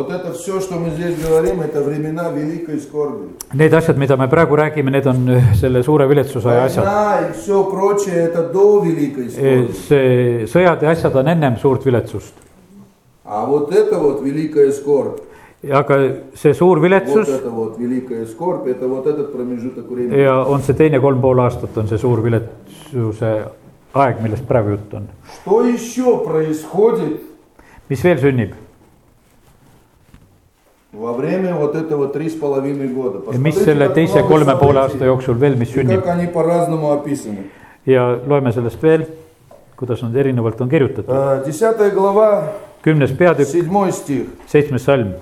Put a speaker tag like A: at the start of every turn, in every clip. A: Вот это все, что мы здесь говорим, это времена великой скорби.
B: Need asjad , mida me praegu räägime , need on äh, selle suure viletsuse aja asjad .
A: Война и все прочее, это до великой скорби.
B: see sõjad ja asjad on ennem suurt viletsust .
A: А вот это вот великая скорбь,
B: aga see suur
A: вот
B: viletsus
A: это вот великая скорбь, это вот этот pромежуток времени.
B: ja on see teine kolm pool aastat on see suur viletsuse aeg , millest praegu jutt on .
A: Что еще происходит
B: mis veel sünnib ?
A: во время вот этого три с половиной гоda?
B: ja mis selle teise
A: много
B: kolme poole
A: событий,
B: aasta jooksul veel , mis
A: и как
B: sünnib
A: они по-разному описаны.
B: ja loeme sellest veel , kuidas nad erinevalt on kirjutatud .
A: Э, Десятая глава,
B: kümnes peatükk ,
A: седьмой стих.
B: seitsmes salm ,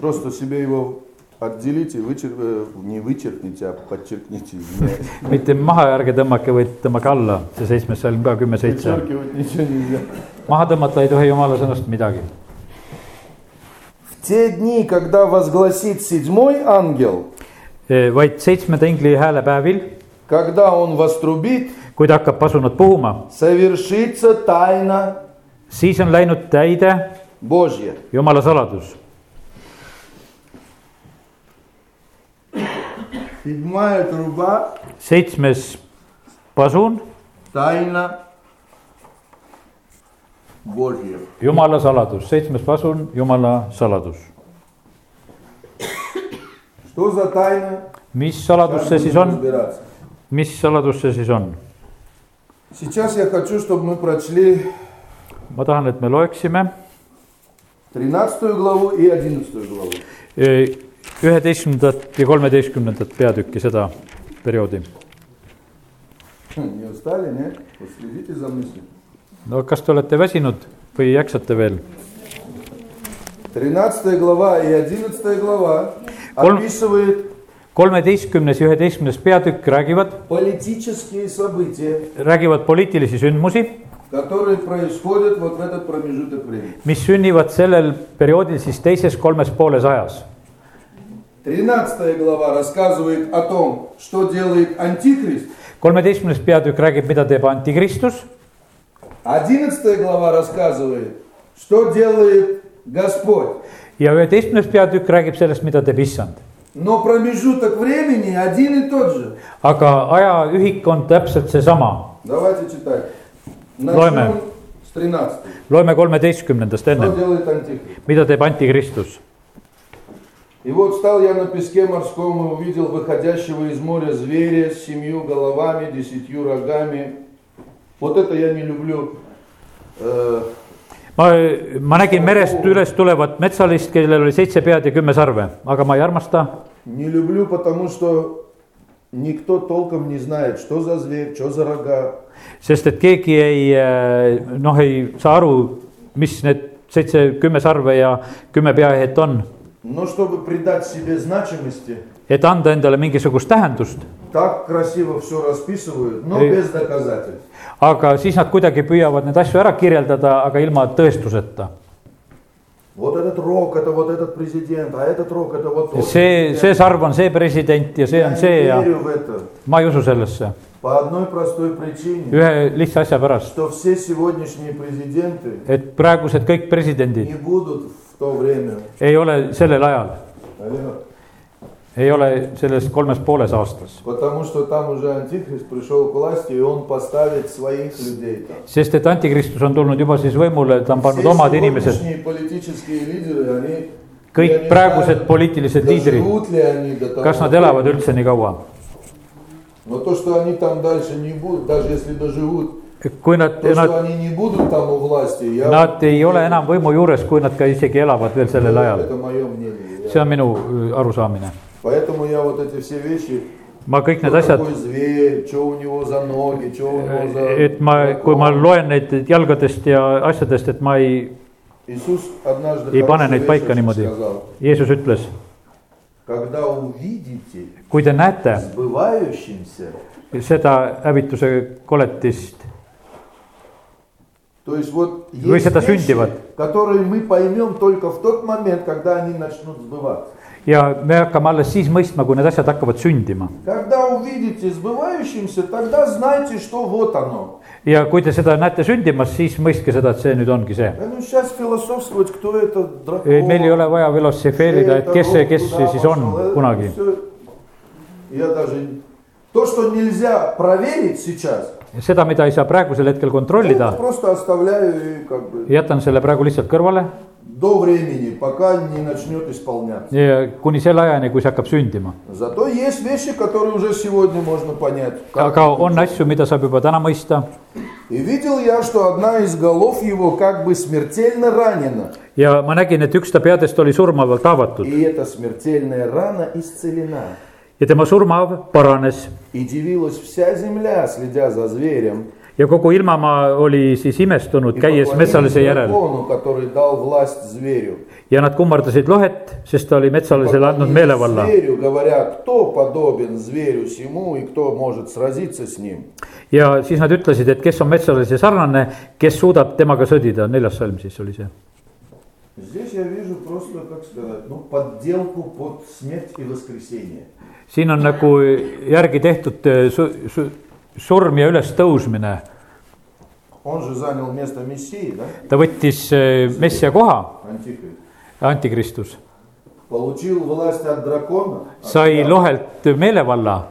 A: Просто себе его отделите, вычер... э, не вычеркните, а подчеркните. извиняюсь.
B: mitte maha ärge tõmmake , vaid tõmmake alla , see seitsmes salm ka kümme , seitse .
A: Подчеркивать ничего нельзя.
B: maha tõmmata ei tohi jumala sõnast midagi .
A: В те дни, когда возгласит седьмой ангел,
B: vaid seitsmenda ingli häälepäevil ,
A: когда он вострубит,
B: kui ta hakkab pasunat puhuma ,
A: совершится тайна
B: siis on läinud täide
A: Божья.
B: jumala saladus .
A: Седьмая труба
B: seitsmes pasun ,
A: Тайна Божья.
B: jumala saladus , seitsmes pasun , jumala saladus .
A: Что за тайна?
B: mis saladus see siis on ,
A: разбираться.
B: mis saladus see siis on ?
A: Сейчас я хочу, чтобы мы прочли
B: ma tahan , et me loeksime
A: 13 главу и 11 главу.
B: üheteistkümnendat ja kolmeteistkümnendat peatükki , seda perioodi .
A: Хм, Не устали, нет? Вот следите за мыслью.
B: no kas te olete väsinud või jaksate veel ?
A: 13 глава и 11 глава
B: Кол-
A: описывает
B: kolmeteistkümnes ja üheteistkümnes peatükk räägivad ,
A: политические события,
B: räägivad poliitilisi sündmusi ,
A: которые происходят вот в этот промежуток времени.
B: mis sünnivad sellel perioodil siis teises kolmes pooles ajas
A: 13 глава рассказывает о том, что делает Антихрист.
B: kolmeteistkümnes peatükk räägib , mida teeb antikristus ,
A: 11 глава рассказывает, что делает Господь.
B: ja üheteistkümnes peatükk räägib sellest , mida teeb issand .
A: Но промежуток времени один и тот же.
B: aga ajaühik on täpselt seesama ,
A: Давайте читать.
B: Лойме.
A: Начнем с 13.
B: loeme kolmeteistkümnendast enne
A: Что , делает Антихрист?
B: mida teeb antikristus .
A: И вот стал я на песке морском и увидел выходящего из моря зверя с семью головами, десятью рогами. Вот это я не люблю. Э,
B: ma , ma nägin merest üles tulevat metsalist , kellel oli seitse pead ja kümme sarve , aga ma ei armasta ,
A: не люблю, потому что никто толком не знает, что за зверь, что за рога.
B: sest et keegi ei , noh , ei saa aru , mis need seitse , kümme sarve ja kümme peaehet on ,
A: Но чтобы придать себе значимости,
B: et anda endale mingisugust tähendust
A: так красиво все расписывают, но
B: Э.
A: без доказательств.
B: aga siis nad kuidagi püüavad neid asju ära kirjeldada , aga ilma tõestuseta .
A: Вот этот рок, это вот этот президент, а этот рок, это вот тот.
B: see , see sarv on see president ja see
A: Я
B: on
A: не
B: see ja
A: верю в это
B: ma ei usu sellesse .
A: по одной простой причине,
B: ühe lihtsa asja pärast ,
A: что все сегодняшние президенты
B: et praegused kõik presidendid
A: не будут в то время.
B: ei ole sellel ajal ,
A: Алло.
B: ei ole selles kolmes pooles aastas ,
A: Потому что там уже антихрист пришел к власти, и он поставит своих людей там.
B: sest et antikristus on tulnud juba siis võimule , ta on
A: Все
B: pannud omad inimesed ,
A: сегодняшние политические лидеры, они... я
B: kõik
A: не
B: praegused
A: знаю,
B: poliitilised liidrid ,
A: доживут ли они до того
B: kas nad elavad üldse nii kaua ?
A: Но то, что они там дальше не будут, даже если доживут,
B: kui nad
A: то, ,
B: nad ,
A: что они не будут там у власти, я...
B: nad ei ole enam võimu juures , kui nad ka isegi elavad veel sellel ajal .
A: Это мое мнение.
B: see on minu öö, arusaamine .
A: Поэтому я вот эти все вещи,
B: ma kõik need
A: кто
B: asjad ,
A: такой зверь, что у него за ноги, что у него за...
B: et ma , Э, kui ma loen neid jalgadest ja asjadest , et ma ei ,
A: Иисус однажды
B: И пане
A: хорошую
B: neid paika
A: вещь
B: niimoodi.
A: сказал,
B: Jeesus ütles ,
A: когда увидите
B: kui te näete
A: сбывающимся,
B: seda hävituse koletist ,
A: то есть вот
B: Вы
A: есть
B: это
A: вещи,
B: sündivат.
A: которые мы поймем только в тот момент, когда они начнут сбываться.
B: ja me hakkame alles siis mõistma , kui need asjad hakkavad sündima .
A: Когда увидите сбывающимся, тогда знайте, что вот оно.
B: ja kui te seda näete sündimas , siis mõistke seda , et see nüüd ongi see .
A: Да ну сейчас философствовать, кто это дракон.
B: ei , meil ei ole vaja filosofeerida , et kes see , kes see siis on kunagi .
A: Я даже... То, что нельзя проверить сейчас,
B: seda , mida ei saa praegusel hetkel
A: я
B: kontrollida ,
A: просто оставляю и как бы
B: jätan selle praegu lihtsalt kõrvale
A: до времени, пока не начнет исполняться.
B: ja kuni selle ajani , kui see hakkab sündima .
A: Зато есть вещи, которые уже сегодня можно понять. как.
B: aga on asju , mida saab juba täna mõista
A: И видел я, что одна из голов его как бы смертельно ранена.
B: ja ma nägin , et üks ta peadest oli surmavalt haavatud
A: И эта смертельная рана исцелена.
B: ja tema surmahaav paranes
A: И дивилась вся земля, следя за зверем.
B: ja kogu ilmamaa oli siis imestunud ,
A: И
B: käies
A: поклонилась
B: metsalise järel
A: дракону, который дал власть зверю.
B: ja nad kummardasid lohet , sest ta oli metsalisele andnud meelevalla
A: зверю, говоря, кто подобен зверю сему и кто может сразиться с ним.
B: ja siis nad ütlesid , et kes on metsalise sarnane , kes suudab temaga sõdida , neljas salm siis oli see .
A: Здесь я вижу просто, как сказать, ну, подделку под смерть и воскресение.
B: siin on nagu järgi tehtud eh, su- , su- , surm ja ülestõusmine .
A: Он же занял место Мессии, да,
B: ta võttis eh, messia koha ,
A: Антихрист?
B: antikristus ,
A: Получил власть от дракона. от
B: sai
A: дьявола.
B: lohelt meelevalla ,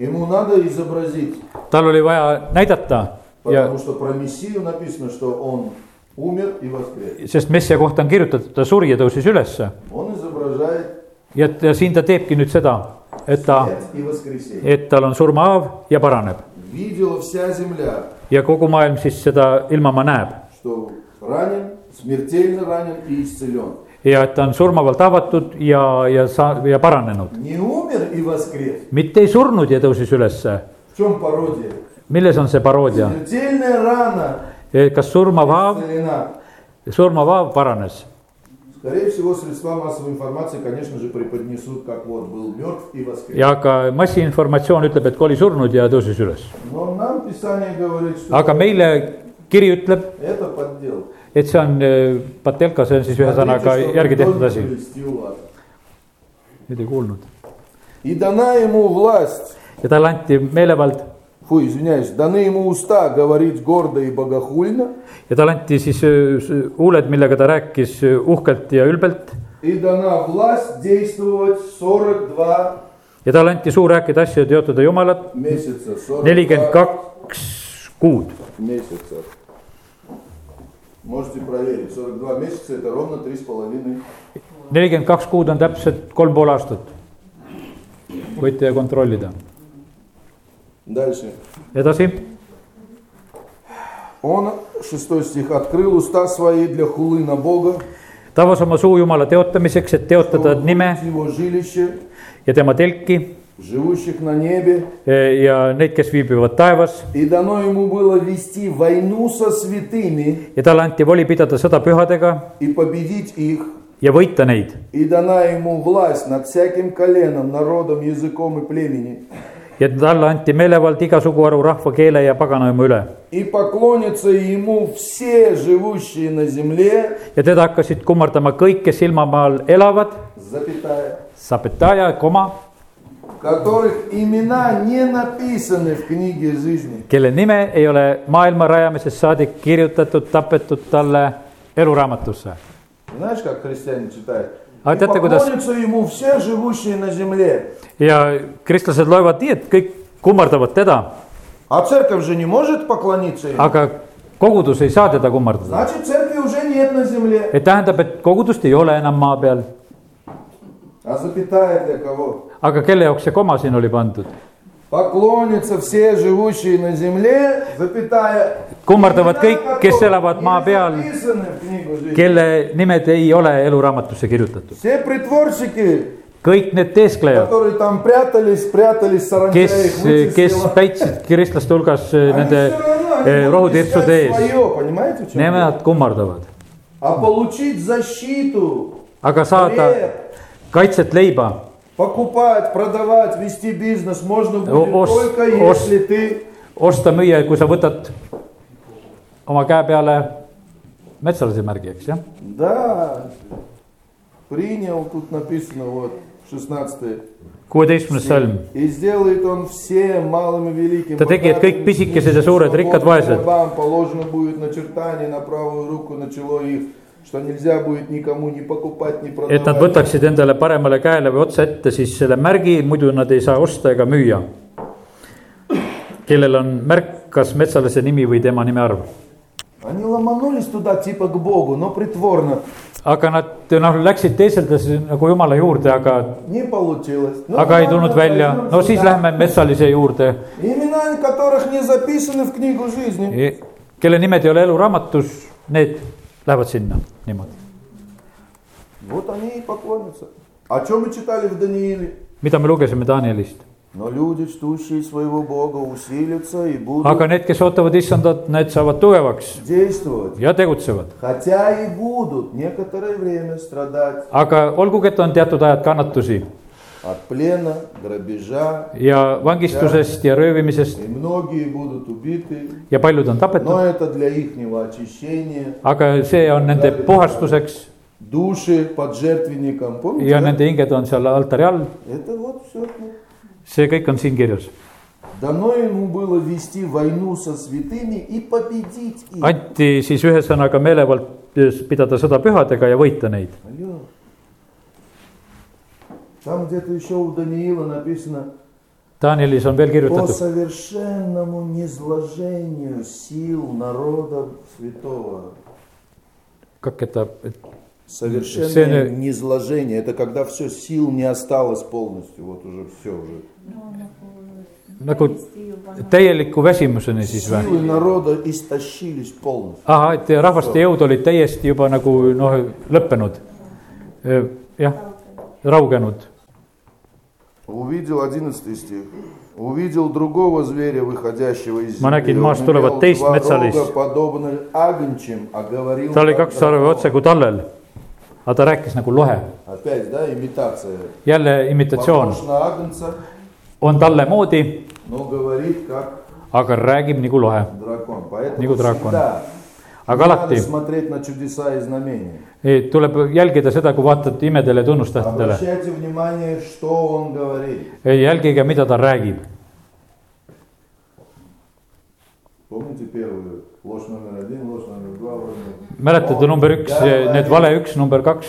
A: Ему надо изобразить,
B: tal oli vaja näidata ja
A: потому что про Мессию написано, что он умер и воскрес.
B: sest messia kohta on kirjutatud , ta suri ja tõusis ülesse
A: Он изображает
B: ja , ja siin ta teebki nüüd seda , et ta ,
A: смерть и воскресение.
B: et tal on surmahaav ja paraneb
A: Видела вся земля,
B: ja kogu maailm siis seda ilmamaa näeb
A: что ранен, смертельно ранен и исцелен.
B: ja et ta on surmavalt haavatud ja , ja sa- ja paranenud .
A: Не умер и воскрес.
B: mitte ei surnud ja tõusis ülesse ,
A: В чем пародия?
B: milles on see paroodia ?
A: Смертельная рана
B: kas surmav haav ,
A: исцелена.
B: surmav haav paranes ?
A: Скорее всего, средства массовой информации, конечно же, преподнесут, как вот был мертв и воскрес.
B: ja ka massiinformatsioon ütleb , et oli surnud ja tõusis üles .
A: Но нам Писание говорит, что
B: aga meile kiri ütleb ,
A: это подделка.
B: et see on öö, patelka , see on siis ühesõnaga
A: Смотрите, что
B: järgi tehtud
A: Антоний
B: asi .
A: прелестил вас.
B: nüüd ei kuulnud .
A: И дана ему власть,
B: ja talle anti meelevald
A: фу, извиняюсь, даны ему уста говорить гордо и богохульно,
B: ja talle anti siis öö, s- huuled , millega ta rääkis öö, uhkelt ja ülbelt
A: и дана власть действовать 42
B: ja talle anti suu rääkida asju ja teotada Jumalat
A: месяца. 42
B: nelikümmend kaks kuud
A: месяца. Можете проверить, 42 месяца это ровно 3,5.
B: nelikümmend kaks kuud on täpselt kolm pool aastat . võite kontrollida .
A: Дальше.
B: edasi ,
A: Он, 6 стих, открыл уста свои для хулы на Бога,
B: ta avas oma suu Jumala teotamiseks , et teotada nime
A: его жилище,
B: ja tema telki
A: живущих на небе,
B: eh, ja neid , kes viibivad taevas
A: и дано ему было вести войну со святыми
B: ja talle anti voli pidada sõda pühadega
A: и победить их,
B: ja võita neid
A: и дана ему власть над всяким коленом, народом, языком и племени.
B: ja talle anti meelevald igasugu aru rahva , keele ja paganaema üle
A: И поклонятся ему все живущие на земле,
B: ja teda hakkasid kummardama kõik , kes ilmamaal elavad ,
A: запятая,
B: sapetaja , koma ,
A: которых имена не написаны в книге жизни.
B: kelle nime ei ole maailma rajamisest saadik kirjutatud , tapetud talle eluraamatusse .
A: Знаешь, как христиане читают?
B: А
A: «И
B: вот это куда с-
A: поклонятся ему все живущие на земле.
B: ja kristlased loevad nii , et kõik kummardavad teda ,
A: А церковь же не может поклониться ему.
B: aga kogudus ei saa teda kummardada .
A: Значит, церкви уже нет на земле.
B: et tähendab , et kogudust ei ole enam maa peal ,
A: А запятая для кого?
B: aga kelle jaoks see koma siin oli pandud ?
A: Поклонятся все живущие на земле, запятая. Имена
B: Kummardavad kõik, kes
A: которых
B: elavad
A: не
B: maa peal.
A: записаны в книгу жизни.
B: kelle nimed ei ole eluraamatusse kirjutatud ,
A: Все притворщики,
B: kõik need teesklejad ,
A: которые там прятались, прятались, саранча
B: kes
A: их вычислила.
B: kes päitsid kristlaste hulgas eh,
A: Они
B: nende
A: всё равно, они
B: eh,
A: будут
B: rohutirtsude
A: искать
B: ees ,
A: своё, понимаете, в чём дело?
B: nemad kummardavad ,
A: А получить защиту,
B: aga saada
A: хлеб,
B: kaitset leiba
A: покупать, продавать, вести бизнес можно будет
B: О- Ну, ос-
A: только
B: ос-
A: если ты
B: osta-müüa , kui sa võtad oma käe peale metsalase märgi , eks jah .
A: Да. принял, тут написано, вот, 16
B: kuueteistkümnes salm .
A: И сделает он все малым и великим.
B: Ta tegi, et kõik
A: богатым,
B: pisikesed ja suured,
A: свободным
B: rikkad, vaesed.
A: рабам положено будет начертание на правую руку, на чело их, что нельзя будет никому ни покупать, ни
B: et nad
A: продавать.
B: võtaksid endale paremale käele või otse ette siis selle märgi , muidu nad ei saa osta ega müüa . kellel on märk , kas metsalase nimi või tema nime arv .
A: Они ломанулись туда типа к Богу, но притворно.
B: aga nad noh , läksid teeseldades nagu jumala juurde , aga ,
A: Не получилось. Ну,
B: aga ei
A: ладно,
B: tulnud välja .
A: пойдем
B: no siis
A: сюда.
B: lähme metsalise juurde ,
A: Имена которых не записаны в книгу жизни.
B: E, kelle nimed ei ole eluraamatus , need lähevad sinna niimoodi .
A: Вот они и поклонятся. О чем мы читали в Данииле?
B: mida me lugesime Danielist .
A: Но люди, чтущие своего Бога, усилятся и будут
B: aga need , kes ootavad issandat , need saavad tugevaks
A: действовать.
B: ja tegutsevad .
A: Хотя и будут некоторое время страдать
B: aga olgugi , et on teatud ajad kannatusi
A: от плена, грабежа,
B: ja vangistusest ja röövimisest
A: и многие будут убиты,
B: ja paljud on tapetud ,
A: но это для ихнего очищения.
B: aga see on nende puhastuseks
A: Души под жертвенником, помните?
B: ja
A: да?
B: nende hinged on seal altari all ,
A: Это вот все.
B: see kõik on siin kirjas .
A: Дано ему было вести войну со святыми и победить их.
B: anti siis ühesõnaga meelevald pidada sõda pühadega ja võita neid .
A: Алло. Там где-то еще у Даниила написано
B: Danielis on veel
A: по
B: kirjutatud ,
A: совершенному низложению сил народа святого.
B: kaketab , et
A: Совершенное
B: Совершенное
A: низложение. Это когда все сил не осталось полностью. Вот уже все уже.
B: nagu täieliku väsimuseni siis või ?
A: Силы народа истощились polностью.
B: ahah , et rahvaste jõud olid täiesti juba nagu noh , lõppenud . jah , raugenud
A: Увидел 11 стих. Увидел другого зверя, выходящего из земли.
B: Манакин
A: Он
B: Маш
A: имел
B: tulevad teist
A: два
B: metsalist.
A: рога, подобный агнчим, а говорил
B: ta oli
A: как
B: kaks sarve
A: дракон.
B: otse kui tallel . aga ta rääkis nagu lohe ,
A: Опять, да, имитация.
B: jälle imitatsioon
A: Похож на агнца,
B: on talle moodi ,
A: но говорит как
B: aga räägib nagu lohe .
A: дракон. Поэтому
B: Нику дракон. А
A: всегда
B: aga
A: надо
B: alati
A: смотреть на чудеса и знамения.
B: eh, tuleb jälgida seda , kui vaatad imedele ja tunnustähtedele ,
A: Обращайте внимание, что он говорит.
B: jälgige , mida ta räägib .
A: Помните первую? Ложь номер один, ложь номер два. ложь номер-
B: mäletate number üks , need vale üks , number kaks ,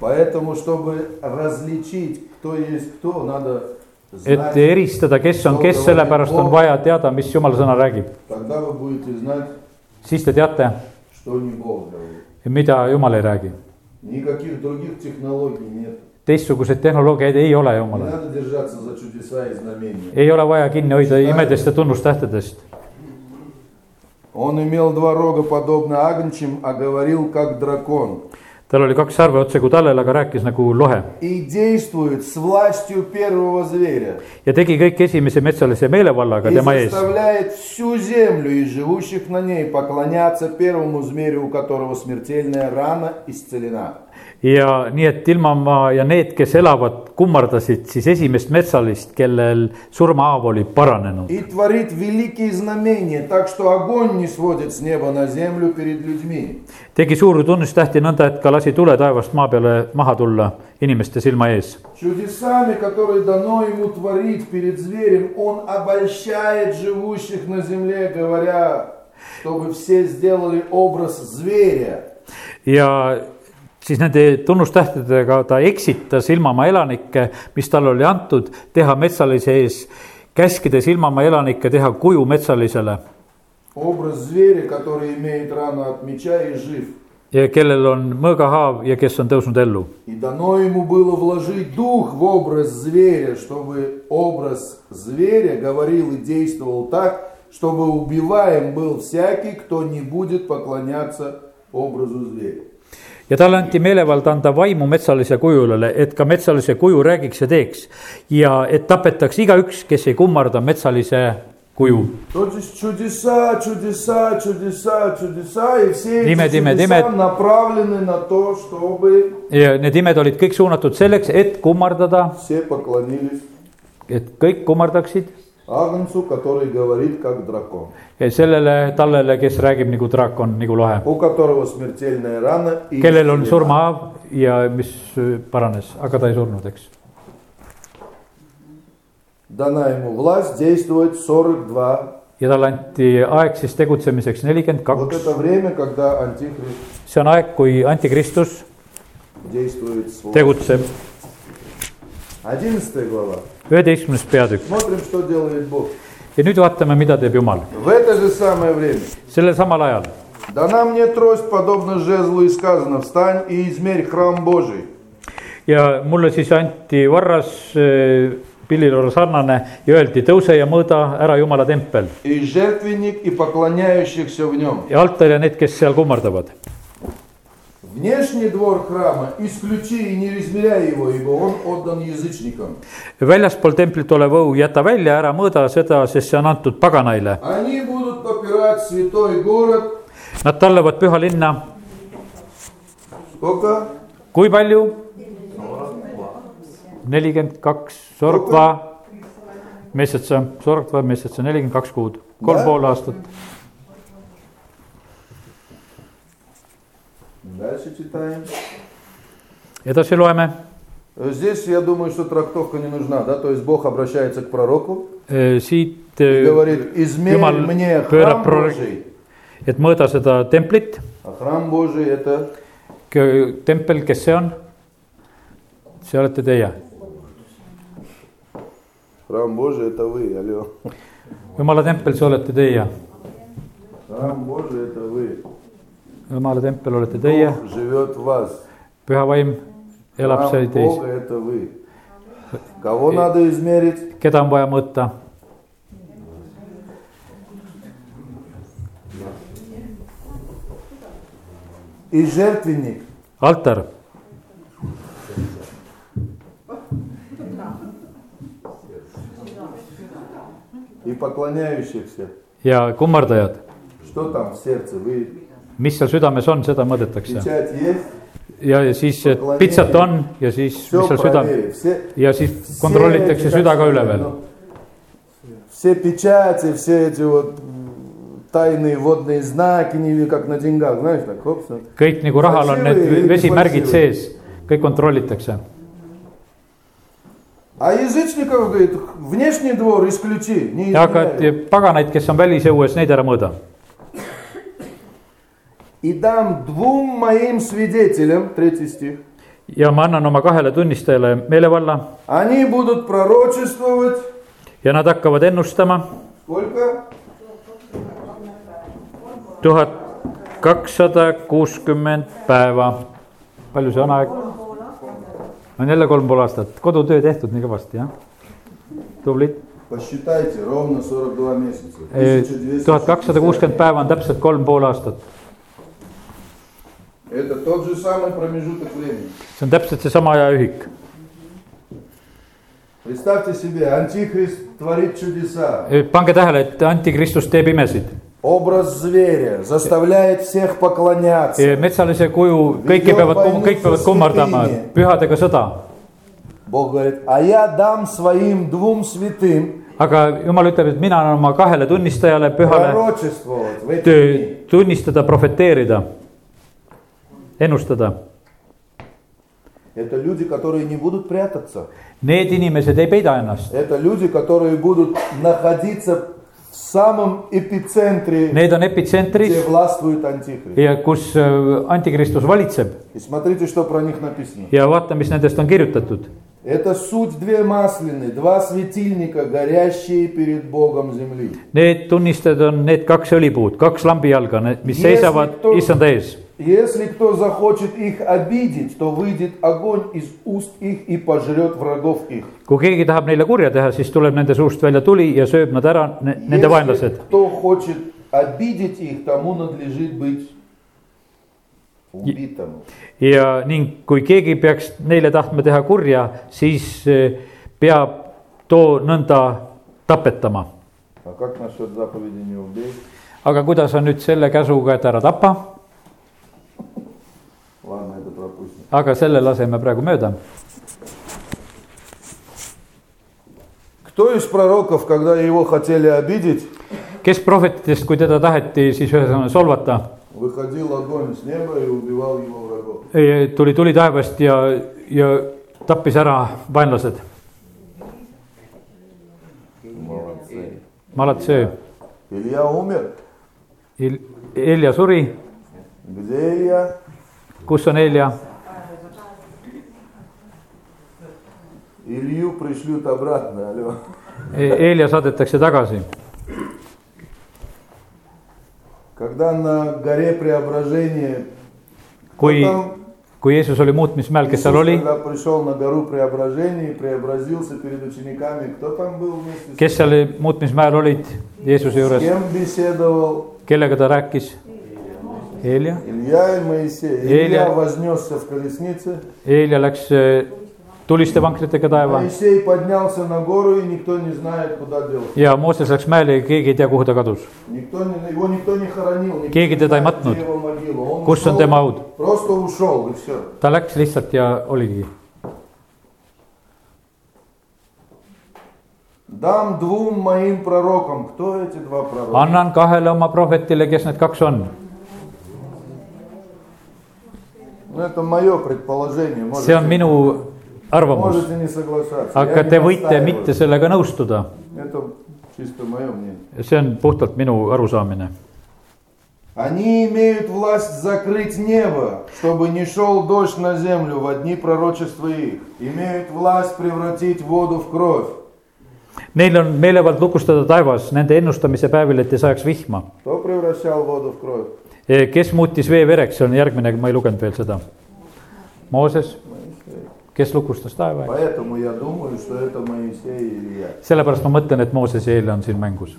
A: Поэтому, чтобы различить, кто есть кто, надо
B: et
A: знать.
B: eristada , kes on kes , sellepärast on vaja teada , mis jumala sõna räägib .
A: Тогда вы будете знать,
B: siis te teate ,
A: что не Бог говорит.
B: mida jumal ei räägi .
A: Никаких других технологий нет.
B: teistsuguseid tehnoloogiaid ei ole
A: Не
B: jumalal ,
A: надо держаться за чудеса и знамения.
B: ei ole vaja kinni hoida imedest ja tunnustähtedest
A: Он имел два рога, подобно агнчим, а говорил, как дракон.
B: tal oli kaks sarve otse kui tallel , aga rääkis nagu lohe
A: И действует с властью первого зверя.
B: ja tegi kõik esimese metsalise meelevallaga
A: И
B: tema ees
A: заставляет всю землю и живущих на ней поклоняться первому зверю, у которого смертельная рана исцелена.
B: ja nii , et ilmamaa ja need , kes elavad , kummardasid siis esimest metsalist , kellel surmahaav oli paranenud
A: И творит великие знамения, так что огонь не сводит с неба на землю перед людьми.
B: tegi suuri tunnustähti nõnda , et ka lasi tule taevast maa peale maha tulla inimeste silma ees .
A: Чудесами, которые дано ему творить перед зверем, он обольщает живущих на земле, говоря, чтобы все сделали образ зверя.
B: ja siis nende tunnustähtedega ta eksitas ilmamaa elanikke , mis talle oli antud , teha metsalise ees , käskides ilmamaa elanikke teha kuju metsalisele
A: Образ зверя, который имеет рану от меча и жив.
B: ja kellel on mõõgahaav ja kes on tõusnud ellu .
A: И дано ему было вложить дух в образ зверя, чтобы образ зверя говорил и действовал так, чтобы убиваем был всякий, кто не будет поклоняться образу зверя.
B: ja talle anti meelevald anda vaimu metsalise kujulale , et ka metsalise kuju räägiks ja teeks ja et tapetaks igaüks , kes ei kummarda metsalise kuju .
A: То есть чудеса, чудеса, чудеса, чудеса, и все эти
B: Димет,
A: чудеса
B: Димет, Димет.
A: направлены на то, чтобы
B: ja need imed olid kõik suunatud selleks , et kummardada ,
A: все поклонились
B: et kõik kummardaksid
A: Агнцу, который говорит как дракон,
B: sellele tallele , kes räägib nagu draakon , nagu lohe ,
A: у которого смертельная рана. И
B: kellel on
A: исцелена.
B: surmahaav ja mis paranes , aga ta ei surnud , eks .
A: Дана ему власть действовать 42.
B: ja talle anti aeg siis tegutsemiseks nelikümmend
A: Вот
B: kaks ,
A: это время, когда Антихрист
B: see on aeg , kui antikristus
A: действует свой.
B: tegutseb .
A: 11 глава.
B: üheteistkümnes peatükk
A: Смотрим, что делает Бог.
B: ja nüüd vaatame , mida teeb Jumal
A: В это же самое время
B: sellel samal ajal .
A: дана мне трость, подобно жезлу, и сказано, встань и измерь храм Божий.
B: ja mulle siis anti varras eh, pillilorra sarnane ja öeldi , tõuse ja mõõda ära Jumala tempel
A: и жертвенник, и поклоняющихся в нем.
B: ja altar ja need , kes seal kummardavad .
A: Внешний двор храма исключи и не измеряй его, ибо он отдан язычникам.
B: väljaspool templit olev õu jäta välja , ära mõõda seda , sest see on antud paganaile .
A: Они будут попирать святой город.
B: Nad tallavad püha linna ,
A: Сколько?
B: kui palju ? nelikümmend kaks , Sorgva , Messetsa , Sorgva , Messetsa , nelikümmend kaks kuud , kolm
A: Jah.
B: pool aastat .
A: Дальше читаем.
B: edasi loeme ,
A: Э, Здесь, я думаю, что трактовка не нужна, да? То есть Бог обращается к пророку
B: Äh, siit , äh,
A: и говорит, измерь
B: Юмал
A: мне храм
B: пера пророк.
A: Божий.
B: et mõõda seda templit ,
A: А храм Божий это
B: tempel , kes see on ? see olete teie ,
A: храм Божий это вы, алло.
B: jumala tempel , see olete teie ,
A: Храм Божий это вы.
B: jumala tempel olete teie ,
A: Бог живет в вас.
B: püha vaim elab
A: Храм
B: seal teis
A: Бога это вы. Кого надо измерить?
B: keda on vaja mõõta ?
A: И жертвенник.
B: altar ,
A: и поклоняющихся.
B: ja kummardajad ,
A: Что там в сердце? Вы
B: mis seal südames on , seda mõõdetakse .
A: печать есть?
B: ja , ja siis et pitsat on ja siis , mis
A: Все
B: seal süda
A: проверили. Все,
B: ja siis
A: все
B: kontrollitakse
A: эти,
B: süda
A: как
B: ka
A: сказать,
B: üle veel .
A: ну, Все печати, все эти вот м, тайные водные знаки, не как на деньгах, знаешь, так, хоп, всё.
B: kõik nagu rahal on need vesimärgid sees , kõik kontrollitakse .
A: А язычников, говорит, внешний двор исключи, не
B: ja aga et
A: изменяй.
B: paganaid , kes on välisõues , neid ära mõõda .
A: И дам двум моим свидетелям, третий стих,
B: ja ma annan oma kahele tunnistajale meelevalla
A: они будут пророчествовать,
B: ja nad hakkavad ennustama
A: сколько?
B: tuhat kakssada kuuskümmend päeva . palju see on aeg ? on jälle kolm pool aastat , kodutöö tehtud nii kõvasti , jah ? tublid .
A: Посчитайте, ровно 42 месяца.
B: Э, tuhat
A: 1260.
B: kakssada kuuskümmend päeva on täpselt kolm pool aastat .
A: Это тот же самый промежуток времени.
B: see on täpselt seesama ajaühik .
A: Представьте себе, антихрист творит чудеса.
B: pange tähele , et antikristus teeb imesid .
A: Образ зверя заставляет всех
B: Э,
A: поклоняться.
B: metsalise kuju , kõiki peavad , kõik peavad kummardama , pühadega sõda .
A: Бог говорит, а я дам своим двум святым
B: aga jumal ütleb , et mina annan oma kahele tunnistajale , pühale ,
A: пророчествовать в эти дни.
B: äh, tunnistada , profeteerida , ennustada
A: Это люди, которые не будут прятаться.
B: Need inimesed ei peida ennast ,
A: Это люди, которые будут находиться в самом эпицентре,
B: need on
A: где
B: epitsentris
A: властвует антихрист.
B: ja kus äh, antikristus valitseb
A: И смотрите, что про них написано.
B: ja vaata , mis nendest on kirjutatud .
A: Это суть две маслины, два светильника, горящие перед Богом земли.
B: Need tunnistajad on need kaks õlipuud , kaks lambijalga , mis
A: Jeesus
B: seisavad
A: tuli-
B: issanda ees .
A: Если кто захочет их обидеть, то выйдет огонь из уст их и пожрет врагов их.
B: kui keegi tahab neile kurja teha , siis tuleb nende suust välja tuli ja sööb nad ära ne, , nende
A: Если
B: vaenlased .
A: кто хочет обидеть их, тому надлежит быть убитым.
B: ja ning kui keegi peaks neile tahtma teha kurja , siis äh, peab too nõnda tapetama .
A: А как насчет заповеди не убей?
B: aga kuidas on nüüd selle käsuga , et ära tapa ,
A: Ладно, это пропустим.
B: aga selle laseme praegu mööda
A: Кто из пророков, когда его хотели обидеть,
B: kes prohvetitest , kui teda taheti siis ühesõnaga solvata ,
A: выходил огонь с неба и убивал его врагов?
B: tuli tuli taevast ja , ja tappis ära vaenlased ,
A: Молодцы.
B: Malatsöö .
A: Илья умер.
B: Helja suri ,
A: Где Илья?
B: kus on Helja ?
A: Илью пришлют обратно, алло.
B: E-, Helja saadetakse tagasi .
A: Когда на горе преображения... кто
B: kui ,
A: там?
B: kui Jeesus oli muutmismäel , kes seal
A: Иисус,
B: oli ,
A: когда пришел на гору преображения и преобразился перед учениками, кто там был вместе? с-
B: kes seal muutmismäel olid Jeesuse
A: С
B: juures ,
A: кем беседовал
B: kellega ta rääkis ? Helja ,
A: Илья и Моисей?
B: Илья.
A: Илья вознесся в колеснице.
B: Helja läks eh, tuliste vankritega taeva
A: Моисей поднялся на гору, и никто не знает, куда делся.
B: ja Mooses läks mäele ja keegi ei tea , kuhu ta kadus .
A: Никто не, его никто не хоронил. никто
B: Keegi
A: не
B: teda ei
A: знает, где
B: matnud.
A: его могила. Он
B: kus on
A: ушел,
B: tema haud ?
A: просто ушел, и все.
B: ta läks lihtsalt ja oligi .
A: Дам двум моим пророкам. Кто эти два пророка?
B: annan kahele oma prohvetile , kes need kaks on .
A: Ну, это мое предположение. Можете,
B: see on minu arvamus ,
A: можете не соглашаться. Я
B: aga
A: не
B: te võite
A: настаиваю.
B: mitte sellega nõustuda .
A: Это чисто мое мнение.
B: see on puhtalt minu arusaamine .
A: Они имеют власть закрыть небо, чтобы не шел дождь на землю в одни пророчества их. Имеют власть превратить воду в кровь.
B: Neil on meelevald lukustada taevas nende ennustamise päevil , et ei sajaks vihma .
A: Кто превращал воду в кровь?
B: kes muutis vee vereks , see on järgmine , ma ei lugenud veel seda . Mooses ,
A: Моисей.
B: kes lukustas taeva ,
A: Поэтому я думаю, что это Моисей и Илья.
B: sellepärast ma mõtlen , et Mooses ja Helja on siin mängus .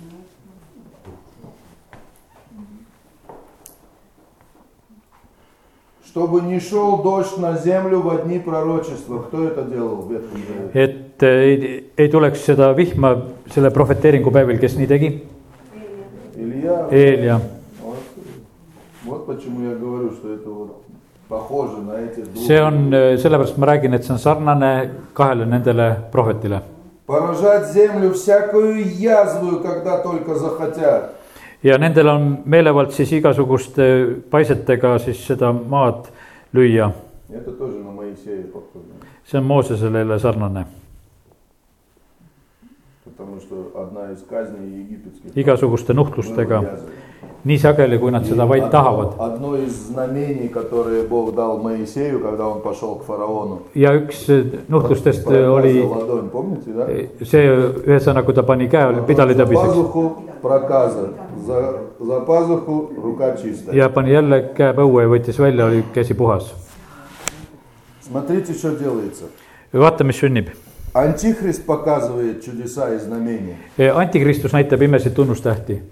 A: Чтобы не шел дождь на землю в одни пророчества. Кто это делал в Ветхом Завете?
B: et eh, ei , ei tuleks seda vihma selle prohveteeringu päevil , kes nii tegi ,
A: Илья.
B: Helja
A: Вот. Вот почему я говорю, что это вот похоже на эти двух.
B: see on , sellepärast ma räägin , et see on sarnane kahele nendele prohvetile .
A: Поражать землю всякую язвую, когда только захотят.
B: ja nendel on meelevald siis igasuguste paisetega siis seda maad lüüa .
A: Это тоже на Моисея похоже.
B: see on Moosesele jälle sarnane ,
A: Потому что одна из казней египетских.
B: igasuguste nuhtlustega ,
A: была язва.
B: nii sageli , kui nad seda
A: И
B: vaid
A: одно-
B: tahavad .
A: Одно из знамений, которое Бог дал Moисею, когда он пошел к фараону.
B: ja üks nuhtlustest äh, oli äh,
A: Проказа ладонь, помните, да?
B: Э, see , ühesõnaga , kui ta pani käe pidali
A: за
B: tabiseks
A: пазуху проказа, за, за пазуху рука чистая.
B: ja pani jälle käe põue ja võttis välja , oli käsi puhas .
A: Смотрите, что делается.
B: vaata , mis sünnib .
A: Антихрист показывает чудеса и знамения,
B: E, antikristus näitab imesid tunnustähti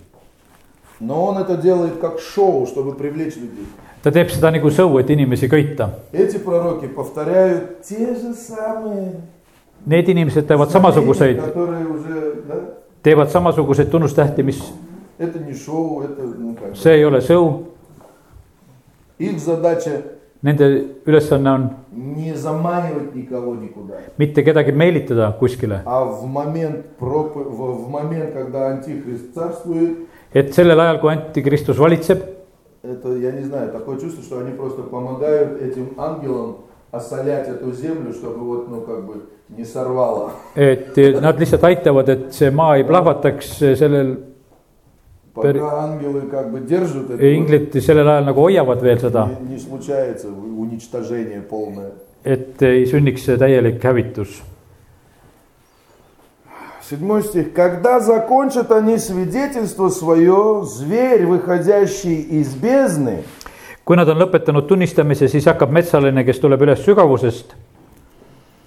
A: но он это делает как шоу, чтобы привлечь людей.
B: ta teeb seda nagu sõu , et inimesi köita .
A: Эти пророки повторяют те же самые
B: Need inimesed teevad
A: знамения,
B: samasuguseid ,
A: которые уже, да?
B: teevad samasuguseid tunnustähti , mis ,
A: Это не шоу, это ну как. бы.
B: see ei ole sõu ,
A: Их задача
B: nende ülesanne on
A: не заманивать никого никуда,
B: mitte kedagi meelitada kuskile ,
A: а в момент пропы- в, в момент, когда Антихрист царствует,
B: et sellel ajal , kui antikristus valitseb ,
A: это я не знаю, такое чувство, что они просто помогают этим ангелам осолять эту землю, чтобы вот ну как бы не сорвало.
B: et nad lihtsalt aitavad , et see maa ei plahvataks sellel ,
A: Пока
B: Пер-
A: ангелы как бы держат это,
B: inglid sellel ajal nagu hoiavad veel seda ,
A: не, не случается уничтожение полное.
B: et ei sünniks see täielik hävitus .
A: Седьмой стих. «Когда закончат они свидетельство свое, зверь, выходящий из бездны,
B: kui nad on lõpetanud tunnistamise , siis hakkab metsaline , kes tuleb üles sügavusest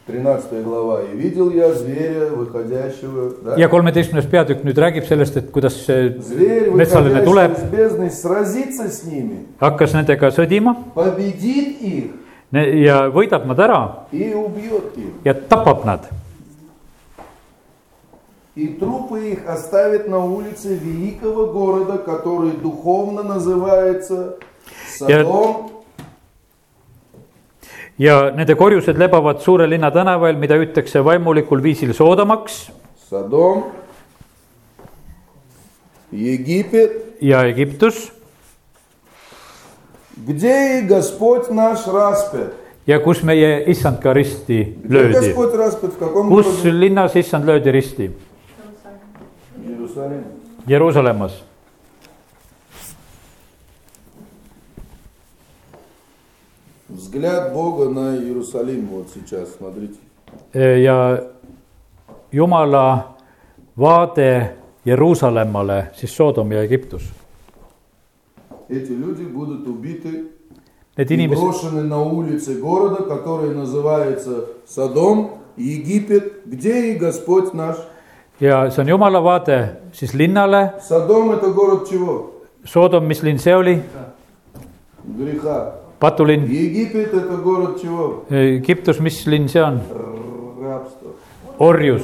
A: 13 глава, и видел я зверя, выходящего, да?
B: ja kolmeteistkümnes peatükk nüüd räägib sellest , et kuidas see
A: Зверь,
B: metsaline
A: выходящий
B: tuleb
A: из бездны, сразится с ними,
B: hakkas nendega sõdima
A: победит их
B: ne- ja võidab nad ära
A: и убьет их.
B: ja tapab nad .
A: И трупы их оставит на улице великого города, который духовно называется Содом
B: ja nende korjused lebavad suure linna tänaval , mida hüütakse vaimulikul viisil soodamaks
A: Содом, Египет
B: ja Egiptus
A: Где и Господь наш распят?
B: ja kus meie issand ka risti
A: Где
B: löödi ,
A: Господь распят? В каком
B: kus
A: городе?
B: linnas issand löödi risti ?
A: В Иерусалиме.
B: Jeruusalemmas .
A: Взгляд Бога на Иерусалим вот сейчас, смотрите.
B: E, ja Jumala vaade Jeruusalemmale , siis Soodom ja Egiptus .
A: Эти люди будут убиты и
B: Need inimesed ,
A: брошены на улице города, который называется Содом, Египет, где и Господь наш.
B: ja see on Jumala vaade siis linnale ,
A: Содом это город чего?
B: Soodom , mis linn see oli ?
A: Греха.
B: patulinn .
A: Египет это город чего?
B: Egiptus , mis linn see on ?
A: Рабство.
B: orjus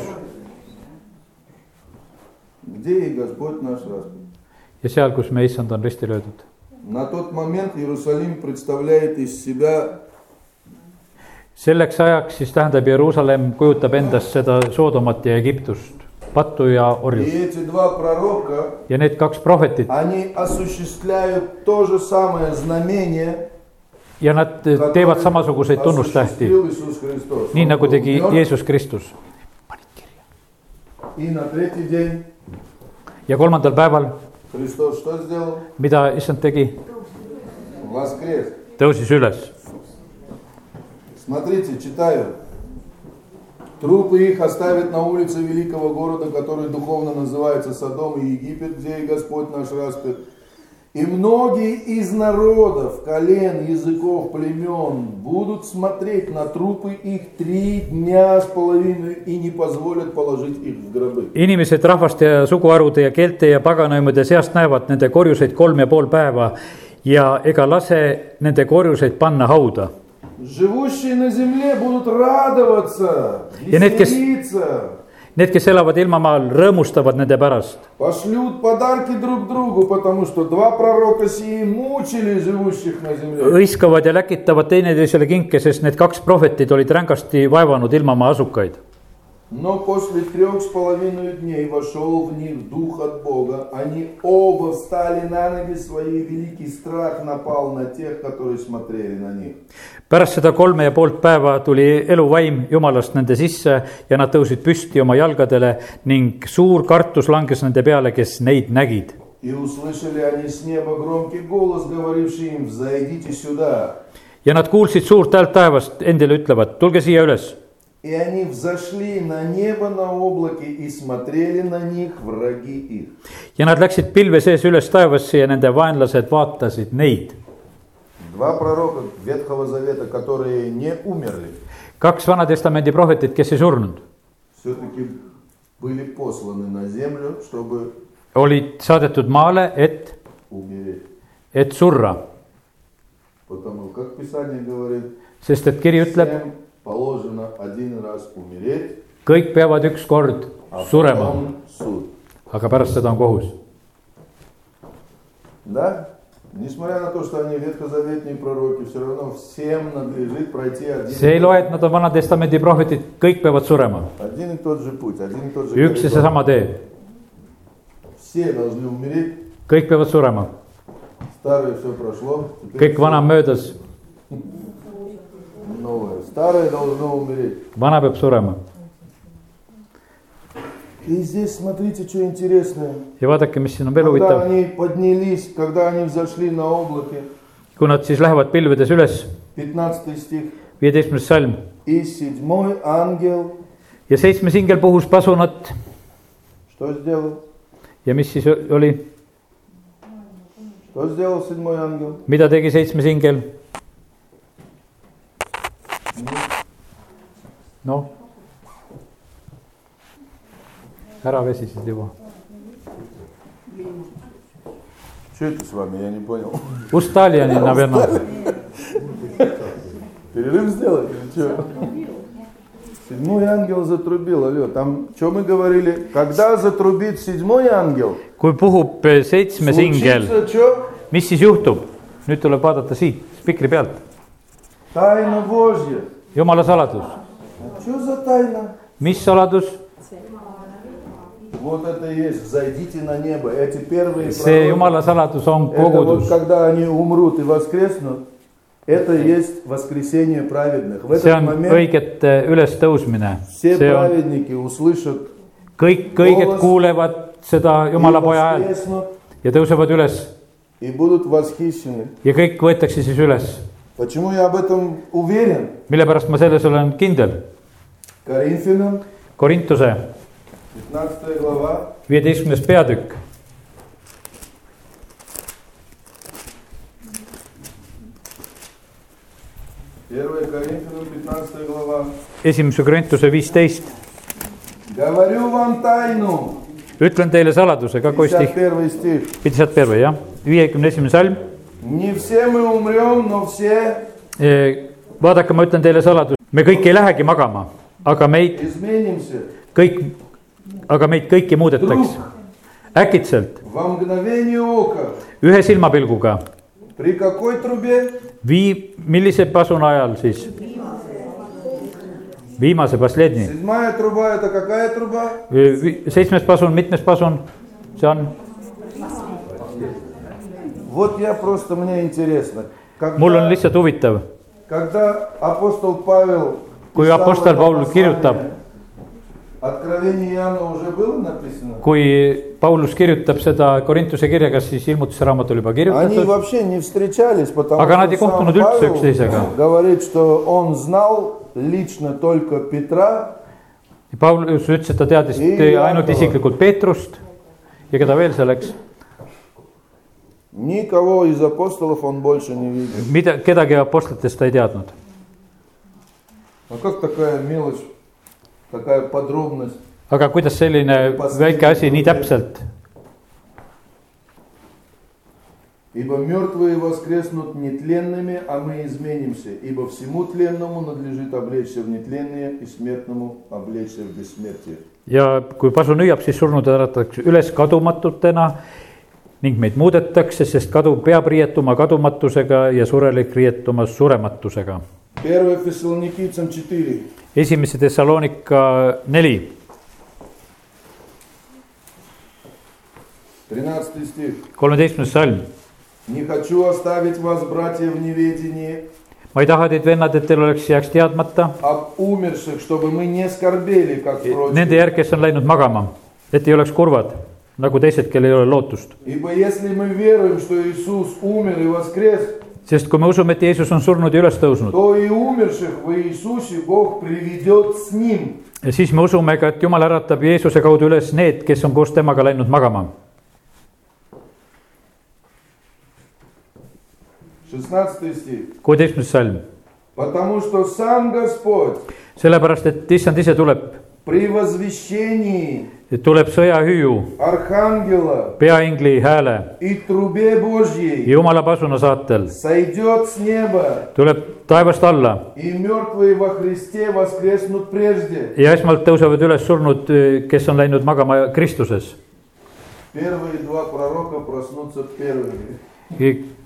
A: Где и Господь наш распят.
B: ja seal , kus me issand on risti löödud .
A: На тот момент Иерусалим представляет из себя
B: selleks ajaks siis tähendab Jeruusalemm kujutab endast seda Soodomat ja Egiptust , pattu ja
A: И
B: orjust
A: эти два пророка,
B: ja need kaks prohvetit
A: они осуществляют то же самое знамение,
B: ja nad teevad
A: которое
B: samasuguseid tunnustähti ,
A: осуществил Иисус Христос.
B: nii
A: Он
B: nagu
A: был
B: tegi
A: мертв,
B: Jeesus Kristus .
A: И на третий день
B: ja kolmandal päeval ,
A: Христос что сделал?
B: mida issand tegi ,
A: Воскрес.
B: tõusis üles
A: Смотрите, читаю. Трупы их оставят на улице великого города, который духовно называется Содом и Египет, где и Господь наш распят. И многие из народов, колен, языков, племен будут смотреть на трупы их три дня с половиной и не позволят положить их в гробы.
B: inimesed rahvaste ja suguharude ja keelte ja paganaimade seast näevad nende korjuseid kolm ja pool päeva ja ega lase nende korjuseid panna hauda .
A: Живущие на земле будут радоваться,
B: И нет, кис-
A: веселиться,
B: Need , kes elavad ilmamaal , rõõmustavad nende pärast .
A: Пошлют подарки друг другу, потому что два пророка сии мучили живущих на земле.
B: hõiskavad ja läkitavad teineteisele kinke , sest need kaks prohvetit olid rängasti vaevanud ilmamaa asukaid .
A: Но после трех с половиной дней вошел в них дух от Бога. Они оба встали на ноги свои, и великий страх напал на тех, которые смотрели на них.
B: pärast seda kolme ja poolt päeva tuli eluvaim jumalast nende sisse ja nad tõusid püsti oma jalgadele ning suur kartus langes nende peale , kes neid nägid .
A: И услышали они с неба громкий голос, говоривший им, «Взойдите сюда».
B: ja nad kuulsid suurt häält taevast endile ütlevat , tulge siia üles .
A: И они взошли на небо на облаке и смотрели на них враги их.
B: ja nad läksid pilve sees üles taevasse ja nende vaenlased vaatasid neid .
A: Два proroka Ветхого Завета, которые не умерли,
B: kaks Vana-testamendi prohvetit , kes ei surnud ,
A: все-таки были посланы на землю, чтобы
B: olid saadetud maale , et ,
A: умереть.
B: et surra ,
A: Потому как Писание говорит,
B: sest et kiri ütleb ,
A: всем положено один раз умереть,
B: kõik peavad ükskord
A: а
B: surema ,
A: потом суд.
B: aga pärast seda on kohus .
A: Да? Несмотря на то, что они ветхозаветные пророки, все равно всем надлежит пройти один,
B: see ei loe , et nad on Vana-testamendi prohvetid , kõik peavad surema ,
A: один и тот же путь, один и тот же
B: üks ja
A: коридор.
B: seesama tee ,
A: Все должны умереть,
B: kõik peavad surema ,
A: старое все прошло, теперь
B: kõik vana on möödas ,
A: новое. Старое должно умереть.
B: vana peab surema
A: И здесь смотрите, что интересное.
B: ja vaadake , mis siin on veel
A: Когда
B: huvitav ,
A: они поднялись, когда они взошли на облаке,
B: kui nad siis lähevad pilvedes üles ,
A: 15 стих,
B: viieteistkümnes salm
A: и седьмой ангел,
B: ja seitsmes ingel puhus pasunat
A: что сделал?
B: ja mis siis oli ,
A: Что сделал седьмой ангел?
B: mida tegi seitsmes ingel ? noh , ära vesisid juba ,
A: Что это с вами, я не понял.
B: Ustaljanin , naverno ,
A: Перерыв сделать или что? Седьмой ангел затрубил, алло, там, что мы говорили? Когда затрубит седьмой ангел,
B: kui puhub eh, seitsmes ingel ,
A: случится что?
B: mis siis juhtub ? nüüd tuleb vaadata siit spikri pealt ,
A: Тайна Божья.
B: jumala saladus ,
A: Что за тайна?
B: mis saladus ?
A: Вот это и есть. Зайдите на небо. Эти первые
B: see
A: пророки,
B: jumala saladus on
A: это вот
B: kogudus .
A: когда они умрут и воскреснут, это и есть воскресение праведных. В
B: see
A: этот
B: on
A: момент
B: õigete ülestõusmine ,
A: все
B: see on
A: праведники услышат
B: kõik , õiged kuulevad seda
A: и
B: jumala poja häält
A: воскреснут
B: ja tõusevad üles
A: и будут восхищены.
B: ja kõik võetakse siis üles .
A: Почему я об этом уверен?
B: mille pärast ma selles olen kindel .
A: Коринфянам,
B: Korintuse
A: 15 глава,
B: viieteistkümnes peatükk ,
A: Первое Коринфянам, 15 глава.
B: esimese Korintuse viisteist .
A: Говорю вам тайну.
B: ütlen teile saladuse , kakoi stih ,
A: 51 стих.
B: pidisad terve jah , viiekümne esimene salm .
A: Не все мы умрем, но все
B: vaadake , ma ütlen teile saladuse , me kõik ei lähegi magama , aga meid
A: изменимся.
B: kõik , aga meid kõiki muudetakse äkitselt ,
A: Во мгновение ока.
B: ühe silmapilguga
A: При какой трубе?
B: vii- , millise pasuna ajal siis ? viimase pasledni ,
A: Седьмая труба это какая труба?
B: seitsmes pasun , mitmes pasun see on ?
A: Вот я просто, мне интересно.
B: mul on
A: Когда,
B: lihtsalt huvitav ,
A: когда апостол Павел...
B: Kui
A: писал
B: апостол
A: это
B: Павел
A: послание,
B: kirjutab-
A: Откровение Иоанна уже было написано?
B: kui Paulus kirjutab seda Korintuse kirja , kas siis ilmutusraamat oli juba
A: Они
B: kirjutatud ?
A: вообще не встречались, потому
B: Aga nad ei
A: что сам
B: kohtunud üldse
A: Павел
B: üksteisega.
A: говорит, что он знал лично только Петра
B: Paulus ütles , et ta teadis
A: Ei,
B: ainult
A: Jaakov.
B: isiklikult Peetrust ja keda veel seal , eks ,
A: Никого из апостолов он больше не видел.
B: mida , kedagi apostlitest ta ei teadnud .
A: А как такая мелочь, такая подробность?
B: aga kuidas selline väike asi nii täpselt ,
A: Ибо мертвые воскреснут нетленными, а мы изменимся. Ибо всему тленному надлежит облечься в нетленное, и смертному облечься в бессмертие.
B: ja kui pasu nüüab , siis surnud äratakse üles kadumatutena ning meid muudetakse , sest kadu peab riietuma kadumatusega ja surelik riietuma surematusega .
A: 1 Фессалоникийцам 4.
B: esimese Thessalonika neli ,
A: 13 стих.
B: kolmeteistkümnes salm .
A: «Не хочу оставить вас, братья, в неведении
B: ma ei taha teid , vennad , et teil oleks , jääks teadmata
A: об умерших, чтобы мы не скорбели, как
B: nende
A: прочие.
B: järg , kes on läinud magama , et ei oleks kurvad nagu teised , kellel ei ole lootust .
A: Ибо если мы веруем, что Иисус умер и воскрес,
B: sest kui me usume , et Jeesus on surnud ja üles tõusnud ,
A: то и умерших в Иисусе Бог приведет с Ним.
B: ja siis me usume ka , et Jumal äratab Jeesuse kaudu üles need , kes on koos temaga läinud magama
A: 16 стих.
B: kuueteistkümnes salm ,
A: Потому что сам Господь
B: sellepärast et issand ise tuleb ,
A: при возвещении
B: tuleb sõjahüüu ,
A: архангела
B: peaingli hääle
A: и трубе Божьей
B: ja jumala pasuna saatel ,
A: сойдет с неба,
B: tuleb taevast alla
A: и мертвые во Христе воскреснут прежде.
B: ja esmalt tõusevad üles surnud , kes on läinud magama Kristuses .
A: Первые два пророка проснутся первыми.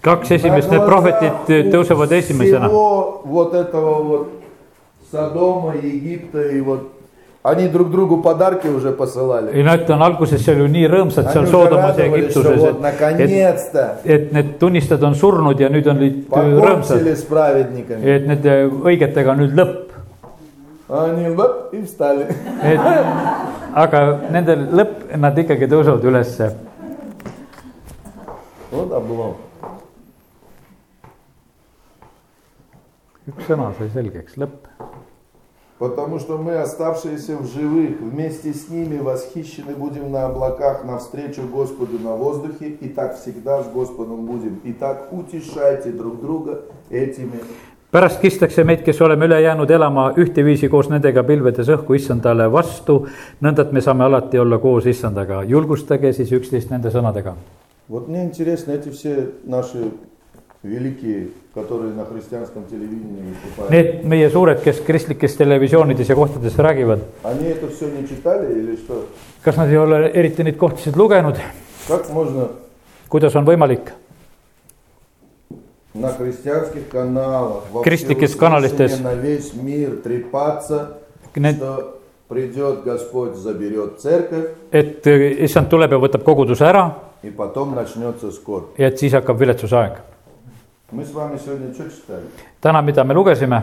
B: kaks esimest , need prohvetid tõusevad esimesena .
A: Всего вот этого вот Содома, Египта и вот они друг другу подарки уже посылали.
B: ei no , et on alguses seal ju nii rõõmsad seal
A: Они уже
B: Soodomas ja
A: радовались, что
B: Egiptuses ,
A: вот
B: et , et ,
A: наконец-то
B: et need tunnistajad on surnud ja nüüd on nüüd rõõmsad ,
A: покончили с праведниками.
B: et nende õigetega on nüüd lõpp
A: Они лап и встали.
B: et aga nendel lõpp , nad ikkagi tõusevad ülesse .
A: Вот облом.
B: üks sõna sai selgeks , lõpp .
A: Потому что мы, оставшиеся в живых, вместе с ними восхищены будем на облаках навстречу Господу на воздухе, и так всегда с Господом будем. И так утешайте друг друга этими.
B: pärast kistakse meid , kes oleme üle jäänud elama ühteviisi koos nendega pilvedes õhku issandale vastu , nõnda et me saame alati olla koos issandaga . julgustage siis üksteist nende sõnadega .
A: Вот мне интересно, эти все наши великие, которые на христианском телевидении выступают,
B: Need meie suured , kes kristlikes televisioonides ja kohtades räägivad ,
A: они это все не читали или что?
B: kas nad ei ole eriti neid kohtasid lugenud ,
A: Как можно
B: kuidas on võimalik
A: на христианских каналах, во
B: Крестики с
A: всеуслышание
B: каналистес.
A: на весь мир трепаться,
B: Нет.
A: что Придет Господь, заберет церковь,
B: et issand tuleb ja võtab koguduse ära
A: и потом начнется скорбь.
B: ja et siis hakkab viletsusaeg .
A: Мы с вами сегодня что читали?
B: täna , mida me lugesime ,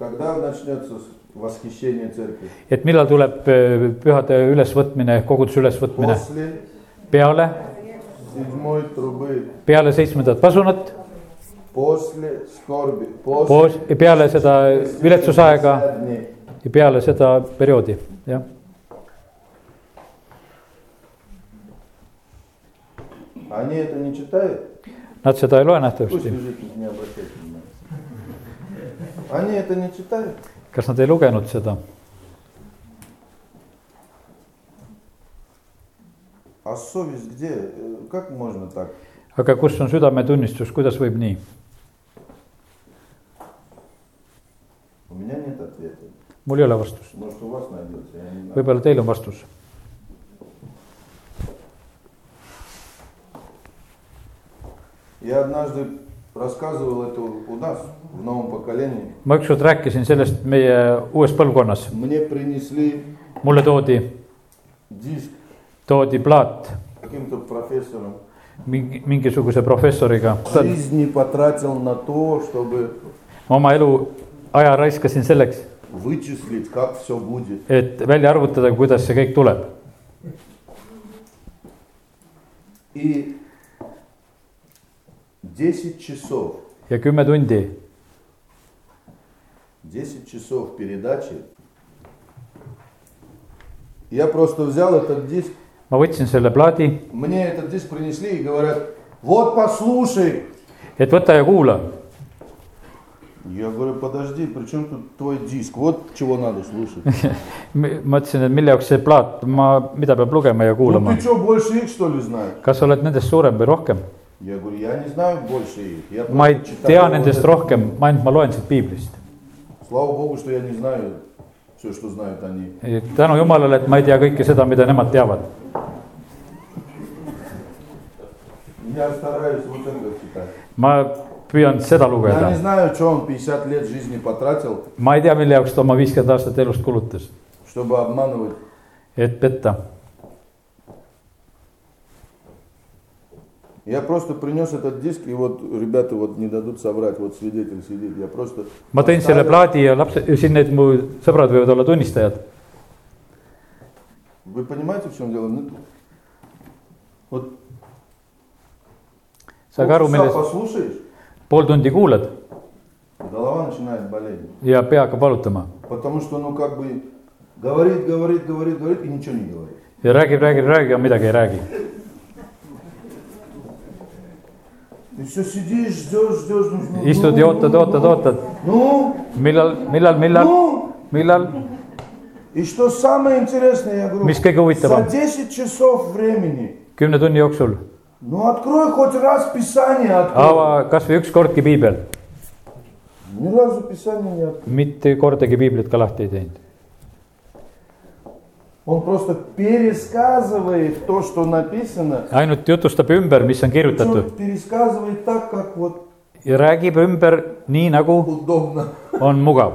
A: Когда начнется с- восхищение церкви?
B: et millal tuleb öö, pühade ülesvõtmine , koguduse ülesvõtmine
A: После
B: peale ,
A: седьмой трубы,
B: peale seitsmendat pasunat ,
A: после скорби, после
B: koos , peale seda viletsusaega
A: 60 дней.
B: ja peale seda perioodi , jah .
A: Они это не читают?
B: Nad seda ei loe
A: Пусть
B: nähtavasti ,
A: лежит, не обращайте внимания. Они это не читают?
B: kas nad ei lugenud seda ?
A: А совесть где? Э, Как можно так?
B: aga kus on südametunnistus , kuidas võib nii ?
A: У меня нет ответа.
B: mul ei ole vastust ,
A: Может, у вас найдется, я не знаю.
B: võib-olla teil on vastus .
A: Я однажды рассказывал это у нас, в новом поколении.
B: ma ükskord rääkisin sellest meie uues põlvkonnas ,
A: Мне принесли
B: mulle toodi ,
A: диск
B: toodi plaat
A: каким-то профессором.
B: mingi , mingisuguse professoriga .
A: Жизнь не потратил на то, чтобы
B: ma oma elu aja raiskasin selleks ,
A: вычислить, как все будет.
B: et välja arvutada , kuidas see kõik tuleb .
A: И 10 часов,
B: ja kümme tundi
A: 10 часов передачи. Я просто взял этот диск.
B: ma võtsin selle plaadi ,
A: Мне этот диск принесли и говорят, вот послушай.
B: et võta ja kuula .
A: Я говорю, подожди, при чем тут твой диск? Вот чего надо слушать.
B: mõtlesin , et mille jaoks see plaat , ma , mida peab lugema ja
A: Ну
B: kuulama
A: ты что, больше их что ли знаешь?
B: kas sa oled nendest suurem või rohkem ?
A: Я говорю, я не знаю больше их. Я
B: ma ei
A: просто
B: tea
A: читаю вот
B: nendest
A: это.
B: rohkem , ainult ma loen siit piiblist .
A: Слава Богу, что я не знаю все, что знают они.
B: tänu jumalale , et ma ei tea kõike seda , mida nemad teavad .
A: Я стараюсь вот это читать.
B: ma püüan seda
A: Я
B: lugeda
A: не . знаю, что он 50 лет жизни потратил,
B: ma ei tea , mille jaoks ta oma viiskümmend aastat elust kulutas ,
A: чтобы обманывать.
B: et petta .
A: Я просто принес этот диск, и вот ребята вот не дадут соврать, вот свидетель сидит. Я просто
B: ma tõin selle plaadi ja lapsed , siin need mu sõbrad võivad olla tunnistajad .
A: Вы понимаете, в чем дело? Ну, Вот
B: saage aru ,
A: полчаса
B: millest ,
A: послушаешь,
B: pool tundi kuulad
A: голова начинает болеть.
B: ja pea hakkab valutama
A: Потому что, ну, как бы говорит, говорит, говорит, говорит, и ничего не говорит.
B: ja räägib , räägib , räägib ja midagi ei räägi .
A: Ты все сидишь, ждешь, ждешь. Ну, ну,
B: istud
A: ну,
B: ja ootad ,
A: ну,
B: ootad , ootad ,
A: Ну,
B: millal , millal , millal ,
A: ну,
B: millal ,
A: и что самое интересное, я говорю,
B: mis kõige
A: за
B: huvitavam ,
A: 10 часов времени,
B: kümne tunni jooksul
A: ну, открой хоть раз Писание,
B: ava
A: открой.
B: kasvõi ükskordki piibel ,
A: Ни разу Писание не открыл.
B: mitte kordagi piiblit ka lahti ei teinud .
A: Он просто пересказывает то, что написано.
B: ainult jutustab ümber , mis on kirjutatud
A: Причем пересказывает так, как вот
B: ja räägib ümber nii , nagu
A: удобно.
B: on mugav .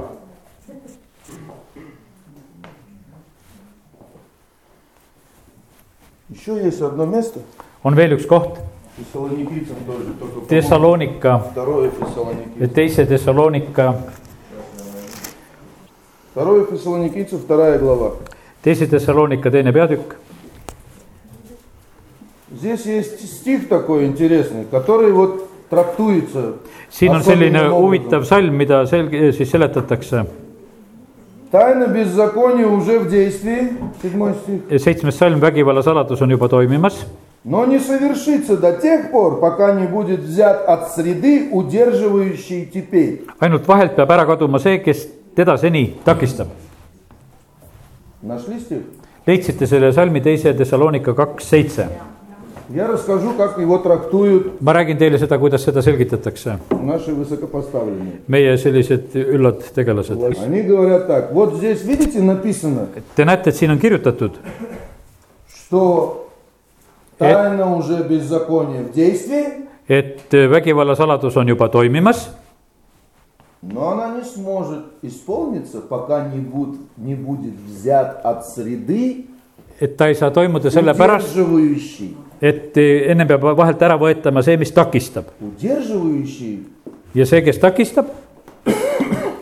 A: Еще есть одно место.
B: on veel üks koht ,
A: Фессалоникийцам тоже. Только по-моему,
B: Thessalonika ,
A: Второе Фессалоникийцам.
B: teise Thessalonika ,
A: Второе Фессалоникийцам, вторая глава.
B: teise Thessalonika teine peatükk .
A: Здесь есть стих такой интересный, который вот трактуется.
B: siin on
A: особенным
B: selline
A: образом.
B: huvitav salm , mida selge , siis seletatakse .
A: Тайна беззакония уже в действии, седьмой стих.
B: seitsmes salm , vägivallasaladus on juba toimimas ,
A: Но не совершится до тех пор, пока не будет взят от среды, удерживающей теперь.
B: ainult vahelt peab ära kaduma see , kes teda seni takistab .
A: Нашли стих?
B: leidsite selle salmi teise Thessalonika kaks seitse .
A: Я расскажу, как его трактуют
B: ma räägin teile seda , kuidas seda selgitatakse ,
A: наши высокопоставленные.
B: meie sellised üllad tegelased .
A: Они говорят так, вот здесь, видите, написано,
B: Te näete , et siin on kirjutatud ,
A: что тайна уже беззакония в действии,
B: et vägivallasaladus on juba toimimas
A: Но она не сможет исполниться, пока не, буд, не будет взят от среды,
B: et ta ei saa toimuda sellepärast ,
A: удерживающий.
B: et eh, enne peab vahelt ära võetama see , mis takistab
A: Удерживающий
B: ja see , kes takistab ,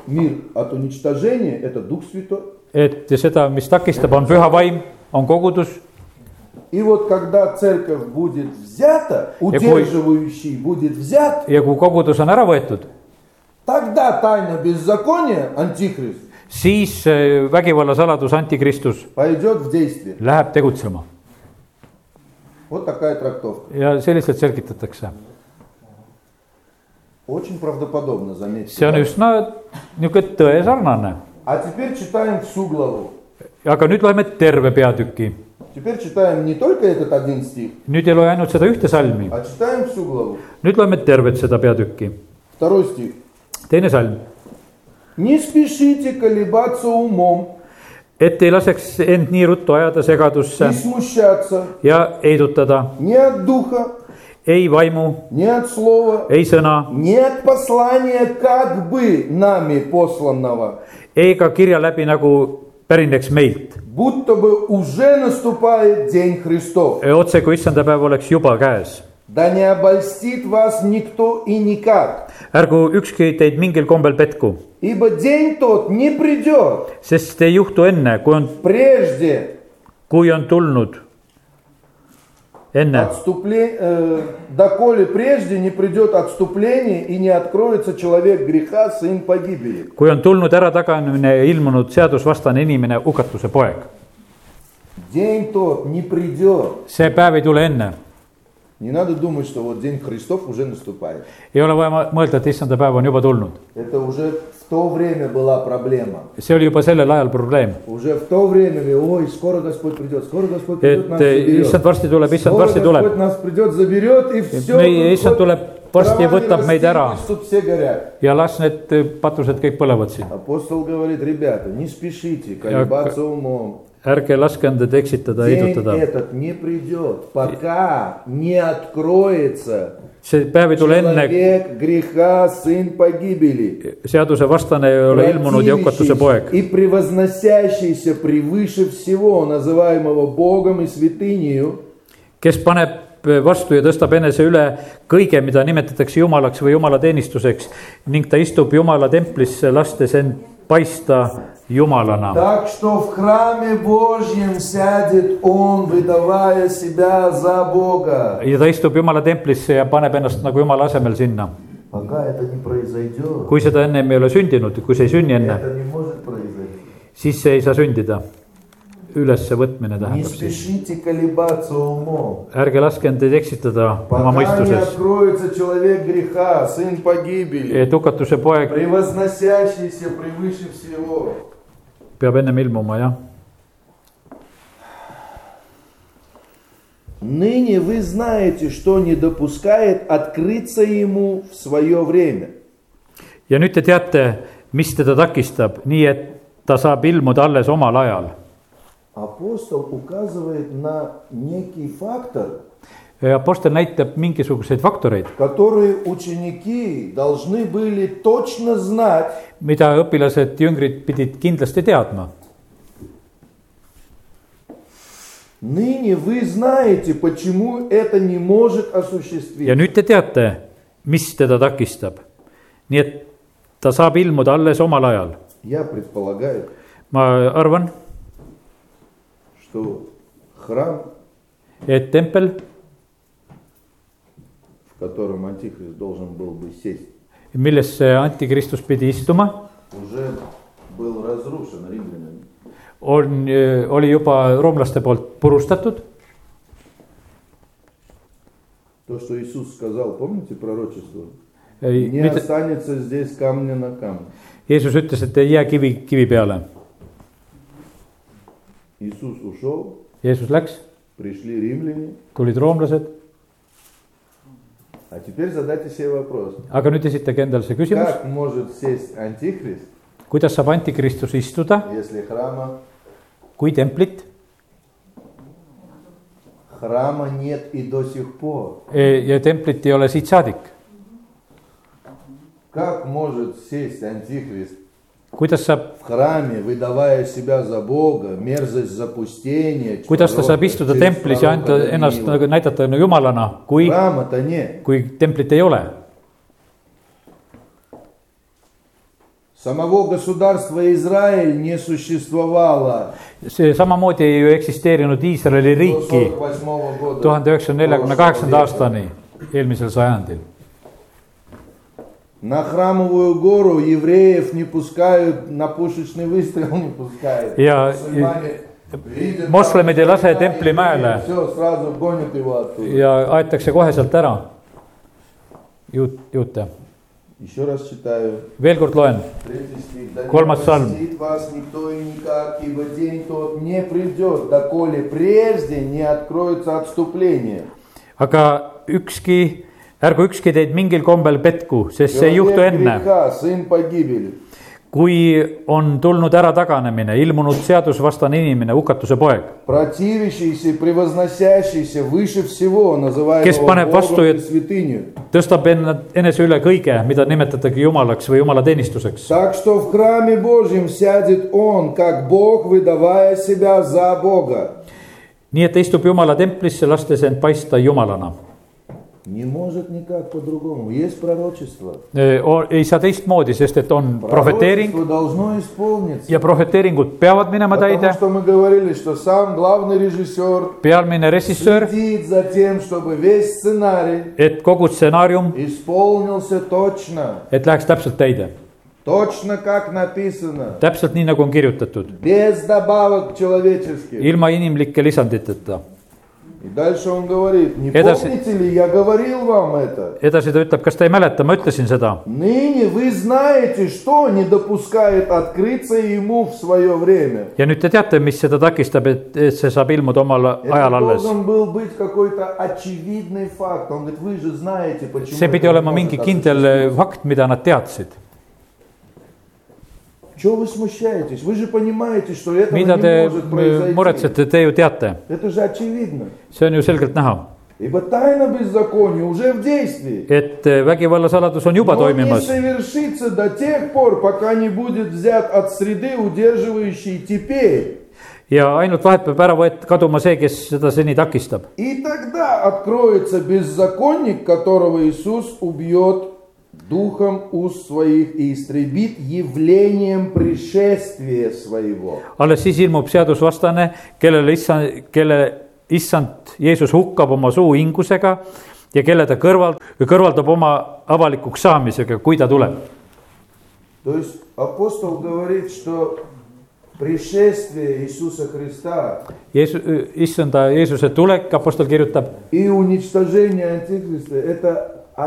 A: мир от уничтожения – это Дух Святой.
B: et seda , mis takistab , on püha vaim , on kogudus
A: И вот когда церковь будет взята, удерживающий будет взят,
B: ja kui kogudus on ära võetud ,
A: тогда тайна беззакония, антихрист,
B: siis eh, vägivallasaladus antikristus
A: пойдет в действие.
B: läheb tegutsema
A: Вот такая трактовка.
B: ja selliselt selgitatakse .
A: Очень правдоподобно,
B: see on
A: заметьте.
B: üsna niisugune tõesarnane ,
A: А теперь читаем всю главу.
B: aga nüüd loeme terve peatüki .
A: Теперь читаем не только этот один стих,
B: nüüd ei loe ainult seda ühte salmi ,
A: а читаем всю главу.
B: nüüd loeme tervet seda peatükki .
A: Второй стих.
B: teine salm ,
A: Не спешите колебаться умом
B: et ei laseks end nii ruttu ajada segadusse
A: и смущаться
B: ja heidutada
A: ни от духа,
B: ei vaimu ,
A: ни от слова,
B: ei sõna
A: ни от послания как бы нами посланного,
B: ega kirja läbi , nagu pärineks meilt .
A: будто бы уже наступает День Христов.
B: otse kui issanda päev oleks juba käes .
A: Да не обольстит вас никто и никак,
B: ärgu ükski teid mingil kombel petku ,
A: ибо день тот не придет
B: sest ei juhtu enne , kui on ,
A: прежде
B: kui on tulnud enne
A: отступле- э, доколе прежде не придет отступление и не откроется человек греха, сын погибели.
B: kui on tulnud ärataganemine ja ilmunud seadusvastane inimene , hukatuse poeg .
A: День тот не придет.
B: see päev ei tule enne ,
A: Не надо думать, что вот День Христов уже наступает.
B: ei ole vaja mõelda , et issanda päev on juba tulnud .
A: Это уже в то время была проблема.
B: see oli juba sellel ajal probleem ,
A: Уже в то время, говорили, ой, скоро Господь придет, скоро Господь придет,
B: et
A: нас
B: eh,
A: заберет.
B: issand varsti tuleb , issand
A: Скоро
B: varsti tuleb
A: Господь нас придет, заберет, и все.
B: meie issand tuleb varsti ja võtab meid ära
A: все горят.
B: ja las need eh, patused kõik põlevad siin .
A: Апостол говорит, ребята, не спешите
B: Э,
A: колебаться умом.
B: ärge laske enda eksitada ,
A: День
B: heidutada ,
A: этот не придет, пока не откроется
B: see päev ei tule enne ,
A: человек греха, сын погибели.
B: seadusevastane ei ole ilmunud ja hukatuse poeg
A: противящийся и превозносящийся превыше всего, называемого Богом и святынею,
B: kes paneb eh, vastu ja tõstab enese üle kõige , mida nimetatakse jumalaks või jumalateenistuseks ning ta istub jumala templisse , lastes end paista jumalana .
A: Так что в храме Божьем сядет он, выдавая себя за Бога.
B: ja ta istub jumala templisse ja paneb ennast nagu jumala asemel sinna .
A: Пока это не произойдет,
B: kui seda ennem ei ole sündinud , kui see ei sünni enne ,
A: это не может произойти.
B: siis see ei saa sündida . ülesvõtmine
A: Не
B: tähendab siis ,
A: спешите колебаться умом.
B: ärge laske end eksitada oma
A: Пока не
B: mõistuses ,
A: откроется человек греха, сын погибели,
B: et hukatuse poeg
A: превозносящийся превыше всего.
B: peab ennem ilmuma , jah .
A: Ныне вы знаете, что не допускает открыться ему в свое время.
B: ja nüüd te teate , mis teda takistab , nii et ta saab ilmuda alles omal ajal .
A: Апостол указывает на некий фактор,
B: Apostel näitab mingisuguseid faktoreid ,
A: которые ученики должны были точно знать,
B: mida õpilased , jüngrid pidid kindlasti teadma .
A: ныне вы знаете, почему это не может
B: ja
A: осуществиться.
B: nüüd te teate , mis teda takistab . nii et ta saab ilmuda alles omal ajal .
A: Я предполагаю,
B: ma arvan ,
A: что храм,
B: et tempel ,
A: в котором Антихрист должен был бы сесть,
B: millesse antikristus pidi istuma ,
A: уже был разрушен римлянами.
B: on , oli juba roomlaste poolt purustatud
A: То, что Иисус сказал, помните пророчество? Не
B: Mid... .
A: останется здесь камня на камне.
B: Jeesus ütles , et ei jää kivi , kivi peale .
A: Иисус ушел,
B: Jeesus läks ,
A: пришли римляне.
B: tulid roomlased
A: А теперь задайте себе вопрос.
B: aga nüüd esitage endale see küsimus ,
A: Как может сесть антихрист,
B: kuidas saab antikristus istuda ,
A: если храма,
B: kui templit
A: храма нет и до сих пор?
B: eh, ja templit ei ole siit saadik .
A: Как может сесть Антихрист
B: kuidas saab ,
A: в храме, выдавая себя за Бога, мерзость запустения?
B: kuidas ta saab
A: пророка,
B: istuda
A: через
B: templis ja anda
A: пророка
B: ennast
A: Даниила?
B: nagu näidata nagu jumalana , kui ,
A: Храма-то нет.
B: kui templit ei ole ?
A: Самого государства Израиль не существовало
B: see samamoodi ei ju eksisteerinud Iisraeli
A: до
B: riiki
A: 48 года.
B: tuhande üheksasaja neljakümne
A: прошлого
B: kaheksanda
A: века.
B: aastani , eelmisel sajandil .
A: На храмовую гору евреев не пускают, на пушечный выстрел не пускают.
B: Я-
A: Мусульмане видят
B: Moslemid ei lase
A: там
B: templi mäele
A: Все, сразу гонят его оттуда.
B: ja aetakse kohe sealt ära . juut , juute ,
A: Еще раз читаю.
B: veel kord loen
A: Третий стих. «Да не
B: Колмат Сан.
A: простит вас никто и никак, ибо день тот не придет, доколе прежде не откроется отступление.
B: aga ükski , ärgu ükski teid mingil kombel petku , sest see ei
A: Человек
B: juhtu enne ,
A: греха, сын погибели.
B: kui on tulnud ärataganemine , ilmunud seadusvastane inimene , hukatuse poeg ,
A: Противящийся, и превозносящийся выше всего, называемого
B: Kes paneb
A: Богом
B: vastu ja-
A: и святынью.
B: tõstab enna- enese üle kõige , mida nimetatakse jumalaks või jumalateenistuseks .
A: Так что в храме Божьем сядет он, как Бог, выдавая себя за Бога.
B: nii et ta istub jumala templisse , lastes end paista jumalana .
A: Не может никак по-другому. Есть пророчество.
B: ei saa teistmoodi , sest et on prohveteering
A: Пророчество должно исполниться.
B: ja prohveteeringud peavad minema
A: Потому
B: täide ,
A: что мы говорили, что сам главный режиссер
B: pealmine režissöör ,
A: следит за тем, чтобы весь сценарий
B: et kogu stsenaarium ,
A: исполнился точно.
B: et läheks täpselt täide ,
A: Точно как написано.
B: täpselt nii , nagu on kirjutatud ,
A: Без добавок человеческих.
B: ilma inimlike lisanditeta
A: И дальше он говорит, не
B: Это
A: помните ли, я говорил вам это.
B: edasi ta ütleb , kas te ei mäleta , ma ütlesin seda .
A: Ныне вы знаете, что не допускает открыться ему в свое время.
B: ja nüüd te teate , mis seda takistab , et , et see saab ilmuda omal
A: Это
B: ajal alles .
A: должен был быть какой-то очевидный факт. Он говорит, вы же знаете, почему.
B: see pidi
A: это
B: olema
A: не
B: mingi
A: может
B: kindel fakt , mida nad teadsid .
A: открыться. Чего вы смущаетесь? Вы же понимаете, что это не
B: mida te
A: может
B: m-
A: произойти.
B: muretsete , te ju teate ,
A: Это же очевидно.
B: see on ju selgelt näha ,
A: Ибо тайна беззакония уже в действии.
B: et äh, vägivallasaladus on juba
A: Но не
B: toimimas
A: совершится до тех пор, пока не будет взят от среды, удерживающей теперь.
B: ja ainult vahelt peab ära võet- , kaduma see , kes seda seni takistab .
A: И тогда откроется беззаконник, которого Иисус убьет духом уст своих и истребит явлением пришествия своего.
B: alles siis ilmub seadusvastane , kellele issand , kelle issand Jeesus hukkab oma suu hingusega ja kelle ta kõrval , kõrvaldab oma avalikuks saamisega , kui ta tuleb
A: То есть апостол говорит, что пришествие Иисуса Христа
B: Jeesus , issanda Jeesuse tulek , apostel kirjutab
A: и уничтожение Антихриста – это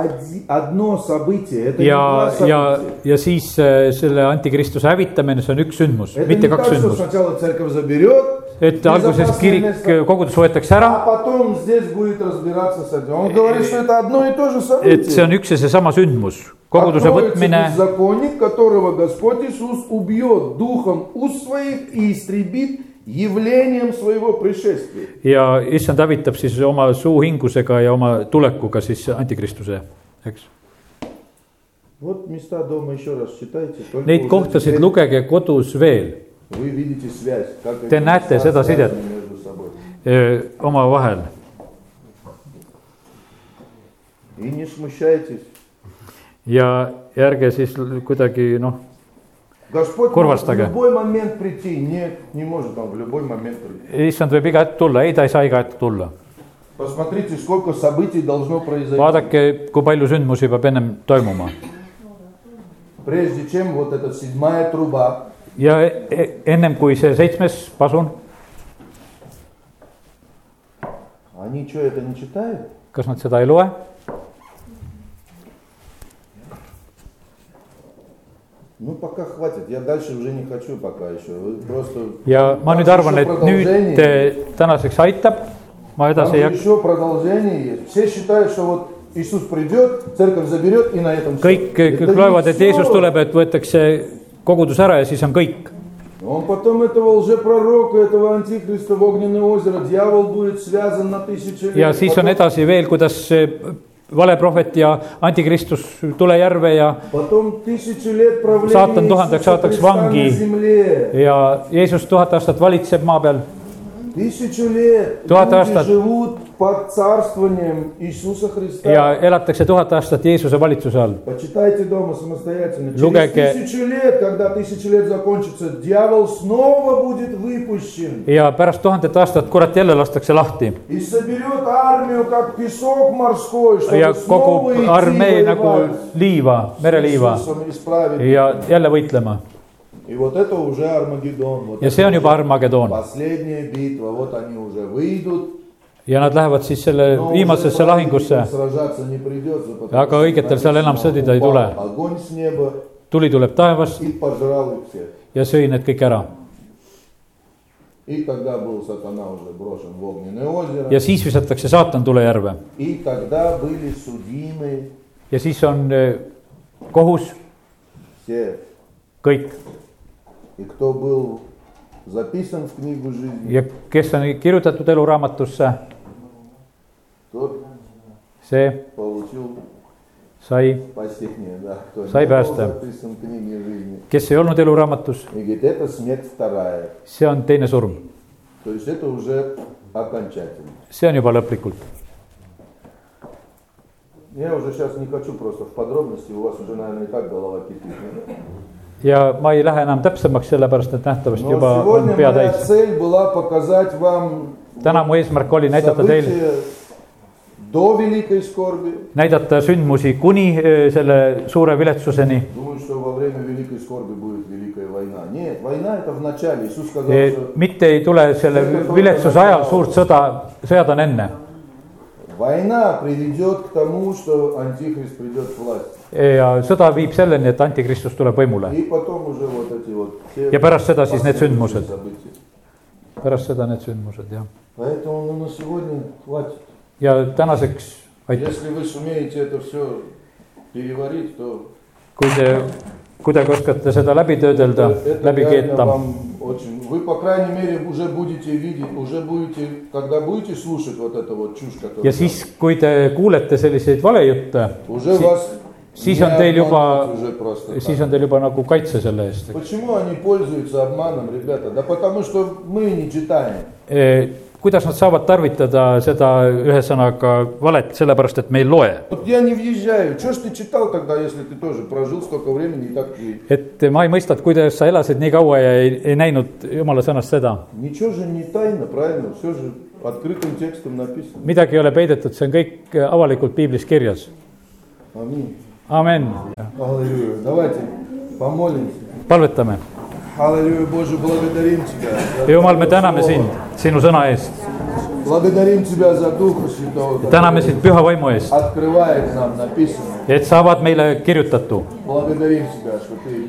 A: оди- одно событие, это не
B: ja
A: два ,
B: ja
A: события. ,
B: ja siis äh, selle antikristuse hävitamine , see on üks sündmus ,
A: Это
B: mitte
A: не так,
B: kaks
A: что
B: sündmust .
A: сначала церковь заберет,
B: et alguses
A: безопасное
B: kirik
A: место, ,
B: kogudus võetakse ära ,
A: а потом здесь будет разбираться с этим. Он говорит, что это одно и то же
B: et see
A: событие.
B: on üks ja seesama sündmus . koguduse
A: Откроется
B: võtmine
A: беззаконник, которого Господь Иисус убьет духом уст своих и истребит явлением своего пришествия.
B: ja issand hävitab siis oma suu hingusega ja oma tulekuga siis antikristuse , eks .
A: Вот места дома еще раз читайте. только
B: Neid
A: уже
B: kohtasid
A: теперь
B: lugege kodus veel
A: Вы видите связь. Как эти
B: Те нате,
A: места
B: седа
A: связаны
B: сидят.
A: между собой.
B: öö, e, omavahel
A: И не смущайтесь.
B: ja ja ärge siis kuidagi noh ,
A: Господь может в
B: Курвастага.
A: любой момент прийти. Нет, не может он в любой момент прийти.
B: issand võib iga hetk tulla , ei , ta ei saa iga hetk tulla
A: Посмотрите, сколько событий должно произойти,
B: vaadake , kui palju sündmusi peab ennem toimuma
A: прежде чем вот эта седьмая труба.
B: ja e- e- ennem kui see seitsmes pasun ,
A: Они что, это не читают?
B: kas nad seda ei loe ?
A: Ну, пока хватит. Я дальше уже не хочу пока еще. Вы просто...
B: ja ma nüüd
A: Там
B: arvan ,
A: же
B: et
A: еще
B: nüüd
A: продолжение.
B: eh, tänaseks aitab ,
A: Там
B: ma edasi
A: же
B: ei hakka ,
A: еще продолжение есть. Все считают, что вот Иисус придет, церковь заберет и на этом всё.
B: kõik ,
A: Это
B: kõik
A: не
B: loevad , et
A: всё.
B: Jeesus tuleb , et võetakse kogudus ära ja siis on kõik .
A: Он потом этого лжепророка, этого антихриста в огненное озеро. Дьявол будет связан на тысячу лет.
B: ja siis on
A: Потом
B: edasi veel , kuidas see valeprohvet ja antikristus tule järve ja ,
A: Потом тысячу лет правления
B: Saatan tuhandaks
A: Иисуса
B: aastaks
A: Христа
B: vangi.
A: на земле.
B: ja Jeesus tuhat aastat valitseb maa peal .
A: Тысячу лет
B: Tuhat
A: люди
B: aastat.
A: живут под царствованием Иисуса Христа.
B: ja elatakse tuhat aastat Jeesuse valitsuse all .
A: Почитайте дома самостоятельно.
B: Лугаке.
A: Через тысячу лет, когда тысяча лет закончится, дьявол снова будет выпущен
B: ja pärast tuhandet aastat kurat jälle lastakse lahti
A: и соберет армию, как песок морской, чтобы снова
B: ja
A: идти
B: kogu armee nagu
A: воевать.
B: liiva ,
A: С
B: mereliiva
A: Иисусом исправить.
B: ja jälle võitlema
A: И вот это уже Армагеддон. Вот
B: ja
A: это
B: see on
A: уже
B: juba Armageddon
A: последняя битва. Вот они уже выйдут.
B: ja nad lähevad siis selle
A: Но уже
B: viimasesse lahingusse
A: праведникам сражаться не придется, потому
B: Aga
A: что
B: õigetel seal enam
A: написано,
B: sõdida ei
A: упал
B: tule.
A: Огонь с неба
B: tuli tuleb taevast
A: и пожрал их всех.
B: ja sõi need kõik ära
A: И тогда был сатана уже брошен в огненное озеро.
B: ja siis visatakse saatan tulejärve
A: И тогда были судимы
B: ja siis on eh, kohus
A: все.
B: kõik
A: И кто был записан в книгу жизни,
B: ja kes on kirjutatud eluraamatusse ,
A: тот
B: see
A: получил
B: sai ,
A: по стихне, да. Кто
B: Сай
A: не был
B: Баста.
A: записан в книге жизни.
B: kes ei olnud eluraamatus ,
A: И говорит, это смерть вторая.
B: see on teine surm ,
A: То есть это уже окончательно.
B: see on juba lõplikult
A: Я уже сейчас не хочу просто в подробности, у вас уже, наверное, и так голова кипит. да?
B: ja ma ei lähe enam täpsemaks , sellepärast et nähtavasti
A: Но
B: juba on
A: сегодня
B: pea
A: моя
B: täis .
A: цель была показать вам
B: täna mu eesmärk oli näidata teil ,
A: события до великой скорби.
B: näidata sündmusi kuni öö, selle suure viletsuseni .
A: Думаю, что во время великой скорби будет великая война. Нет, война это в начале. Иисус сказал,
B: Э,
A: что
B: mitte ei tule selle viletsuse ajal suurt sõda , sõjad on enne .
A: война приведет к тому, что антихрист придет к власти.
B: ja sõda viib selleni , et antikristus tuleb võimule .
A: И потом уже вот эти вот все
B: Ja pärast seda siis need
A: последующие
B: sündmused.
A: события.
B: pärast seda need sündmused jah .
A: Поэтому ну, на сегодня хватит.
B: ja tänaseks , aitäh ,
A: Если вы сумеете это все переварить, то
B: kui te kuidagi oskate seda läbi töödelda
A: это- это ,
B: läbi
A: реально
B: keeta ,
A: вам очень. Вы, по крайней мере, уже будете видеть, уже будете, когда будете слушать вот эту вот чушь, которую...
B: ja siis , kui te kuulete selliseid valejutte ,
A: Уже
B: Si-
A: вас
B: siis
A: не
B: on teil juba-
A: обманывают уже просто
B: siis
A: так.
B: on teil juba nagu kaitse selle eest .
A: Почему они пользуются обманом, ребята? Да потому что мы не читаем.
B: Eh, kuidas nad saavad tarvitada seda ühesõnaga valet , sellepärast et me ei loe .
A: Вот я не въезжаю. Чего ж ты читал тогда, если ты тоже прожил столько времени и так и...
B: et ma ei mõista , et kuidas sa elasid nii kaua ja ei, ei näinud jumala sõnast seda .
A: Ничего же не тайно, правильно? Все же открытым текстом написано.
B: midagi ei ole peidetud , see on kõik äh, avalikult piiblis kirjas .
A: Аминь.
B: amen ,
A: Аллилуйя. Давайте помолимся.
B: palvetame .
A: Аллилуйя, Боже, благодарим Тебя. за
B: jumal , me
A: Твое
B: täname
A: Слово.
B: sind , sinu sõna eest .
A: Благодарим Тебя за Духа Святого,
B: täname
A: который
B: sind püha vaimu eest ,
A: открывает нам написанное.
B: et sa avad meile kirjutatu .
A: Благодарим Тебя, что Ты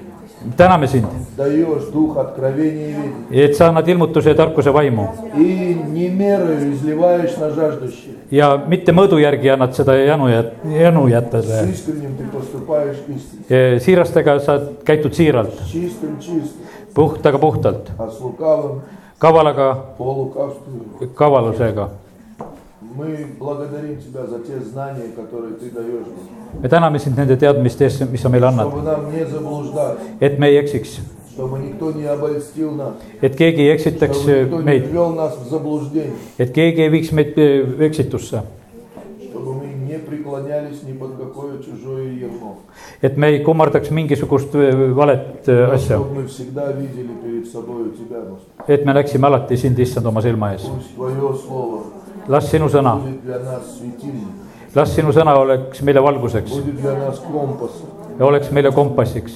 B: täname sind ,
A: даешь дух откровения и видения.
B: et sa annad ilmutuse ja tarkuse vaimu
A: И не мерою изливаешь на жаждущих.
B: ja mitte mõõdu järgi annad seda janu jät- , janu jättes
A: С искренним ты поступаешь истинно.
B: siirastega sa käitud siiralt ,
A: С чистым чистым,
B: puhtaga puhtalt ,
A: а с лукавым
B: kavalaga
A: полукавствуем.
B: kavalusega .
A: Мы благодарим Тебя за те знания, которые Ты даешь нам.
B: me täname sind nende teadmiste eest , mis sa meile annad ,
A: Чтобы нам не заблуждаться,
B: et me ei eksiks ,
A: чтобы никто не обольстил нас,
B: et keegi ei eksitaks
A: чтобы никто не
B: meid ,
A: ввел нас в заблуждение,
B: et keegi ei viiks meid äh, öö, eksitusse ,
A: чтобы мы не преклонялись ни под какое чужое ермо.
B: et me ei kummardaks mingisugust öö, valet öö, asja ,
A: Чтобы мы всегда видели перед собой Тебя, Господи.
B: et me näeksime alati sind , issand , oma silma ees .
A: Пусть Твое Слово
B: las sinu sõna ,
A: будет для нас светильником.
B: las sinu sõna oleks meile valguseks
A: будет для нас компасом,
B: ja oleks meile kompassiks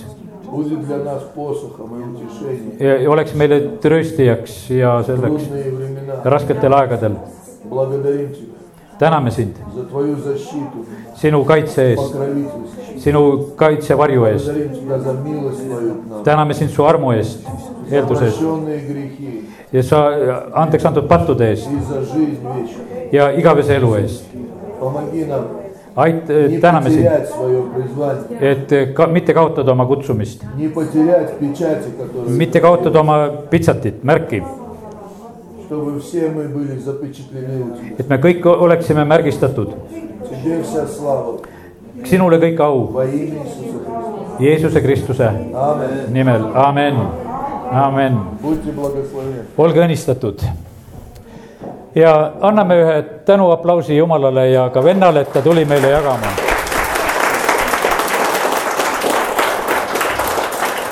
A: будет для нас посохом и утешением.
B: ja ja oleks meile trööstijaks ja
A: В
B: selleks
A: трудные времена
B: rasketel aegadel .
A: благодарим Тебя
B: täname sind
A: за Твою защиту,
B: sinu kaitse eest ,
A: покровительство.
B: sinu kaitsevarju eest ,
A: Благодарим Тебя за милость Твою к нам,
B: täname sind su armu eest ,
A: за
B: eelduse eest
A: прощенные грехи
B: ja sa äh, andeks antud pattude eest
A: и за жизнь вечную.
B: ja igavese elu eest .
A: Помоги нам
B: ait- ,
A: не
B: täname sind ,
A: потерять свое призвание,
B: et eh, ka mitte kaotada oma kutsumist ,
A: не потерять печати, которые
B: mitte kaotada oma pitsatit , märki ,
A: чтобы все мы были запечатлены у Тебя.
B: et me kõik o- oleksime märgistatud
A: Тебе Тебе вся слава
B: sinule kõik au
A: во имя Иисуса Христа.
B: Jeesuse Kristuse
A: Аминь.
B: nimel , amen , amen
A: Будьте благословены.
B: olge õnnistatud . ja anname ühe tänuaplausi Jumalale ja ka vennale , et ta tuli meile jagama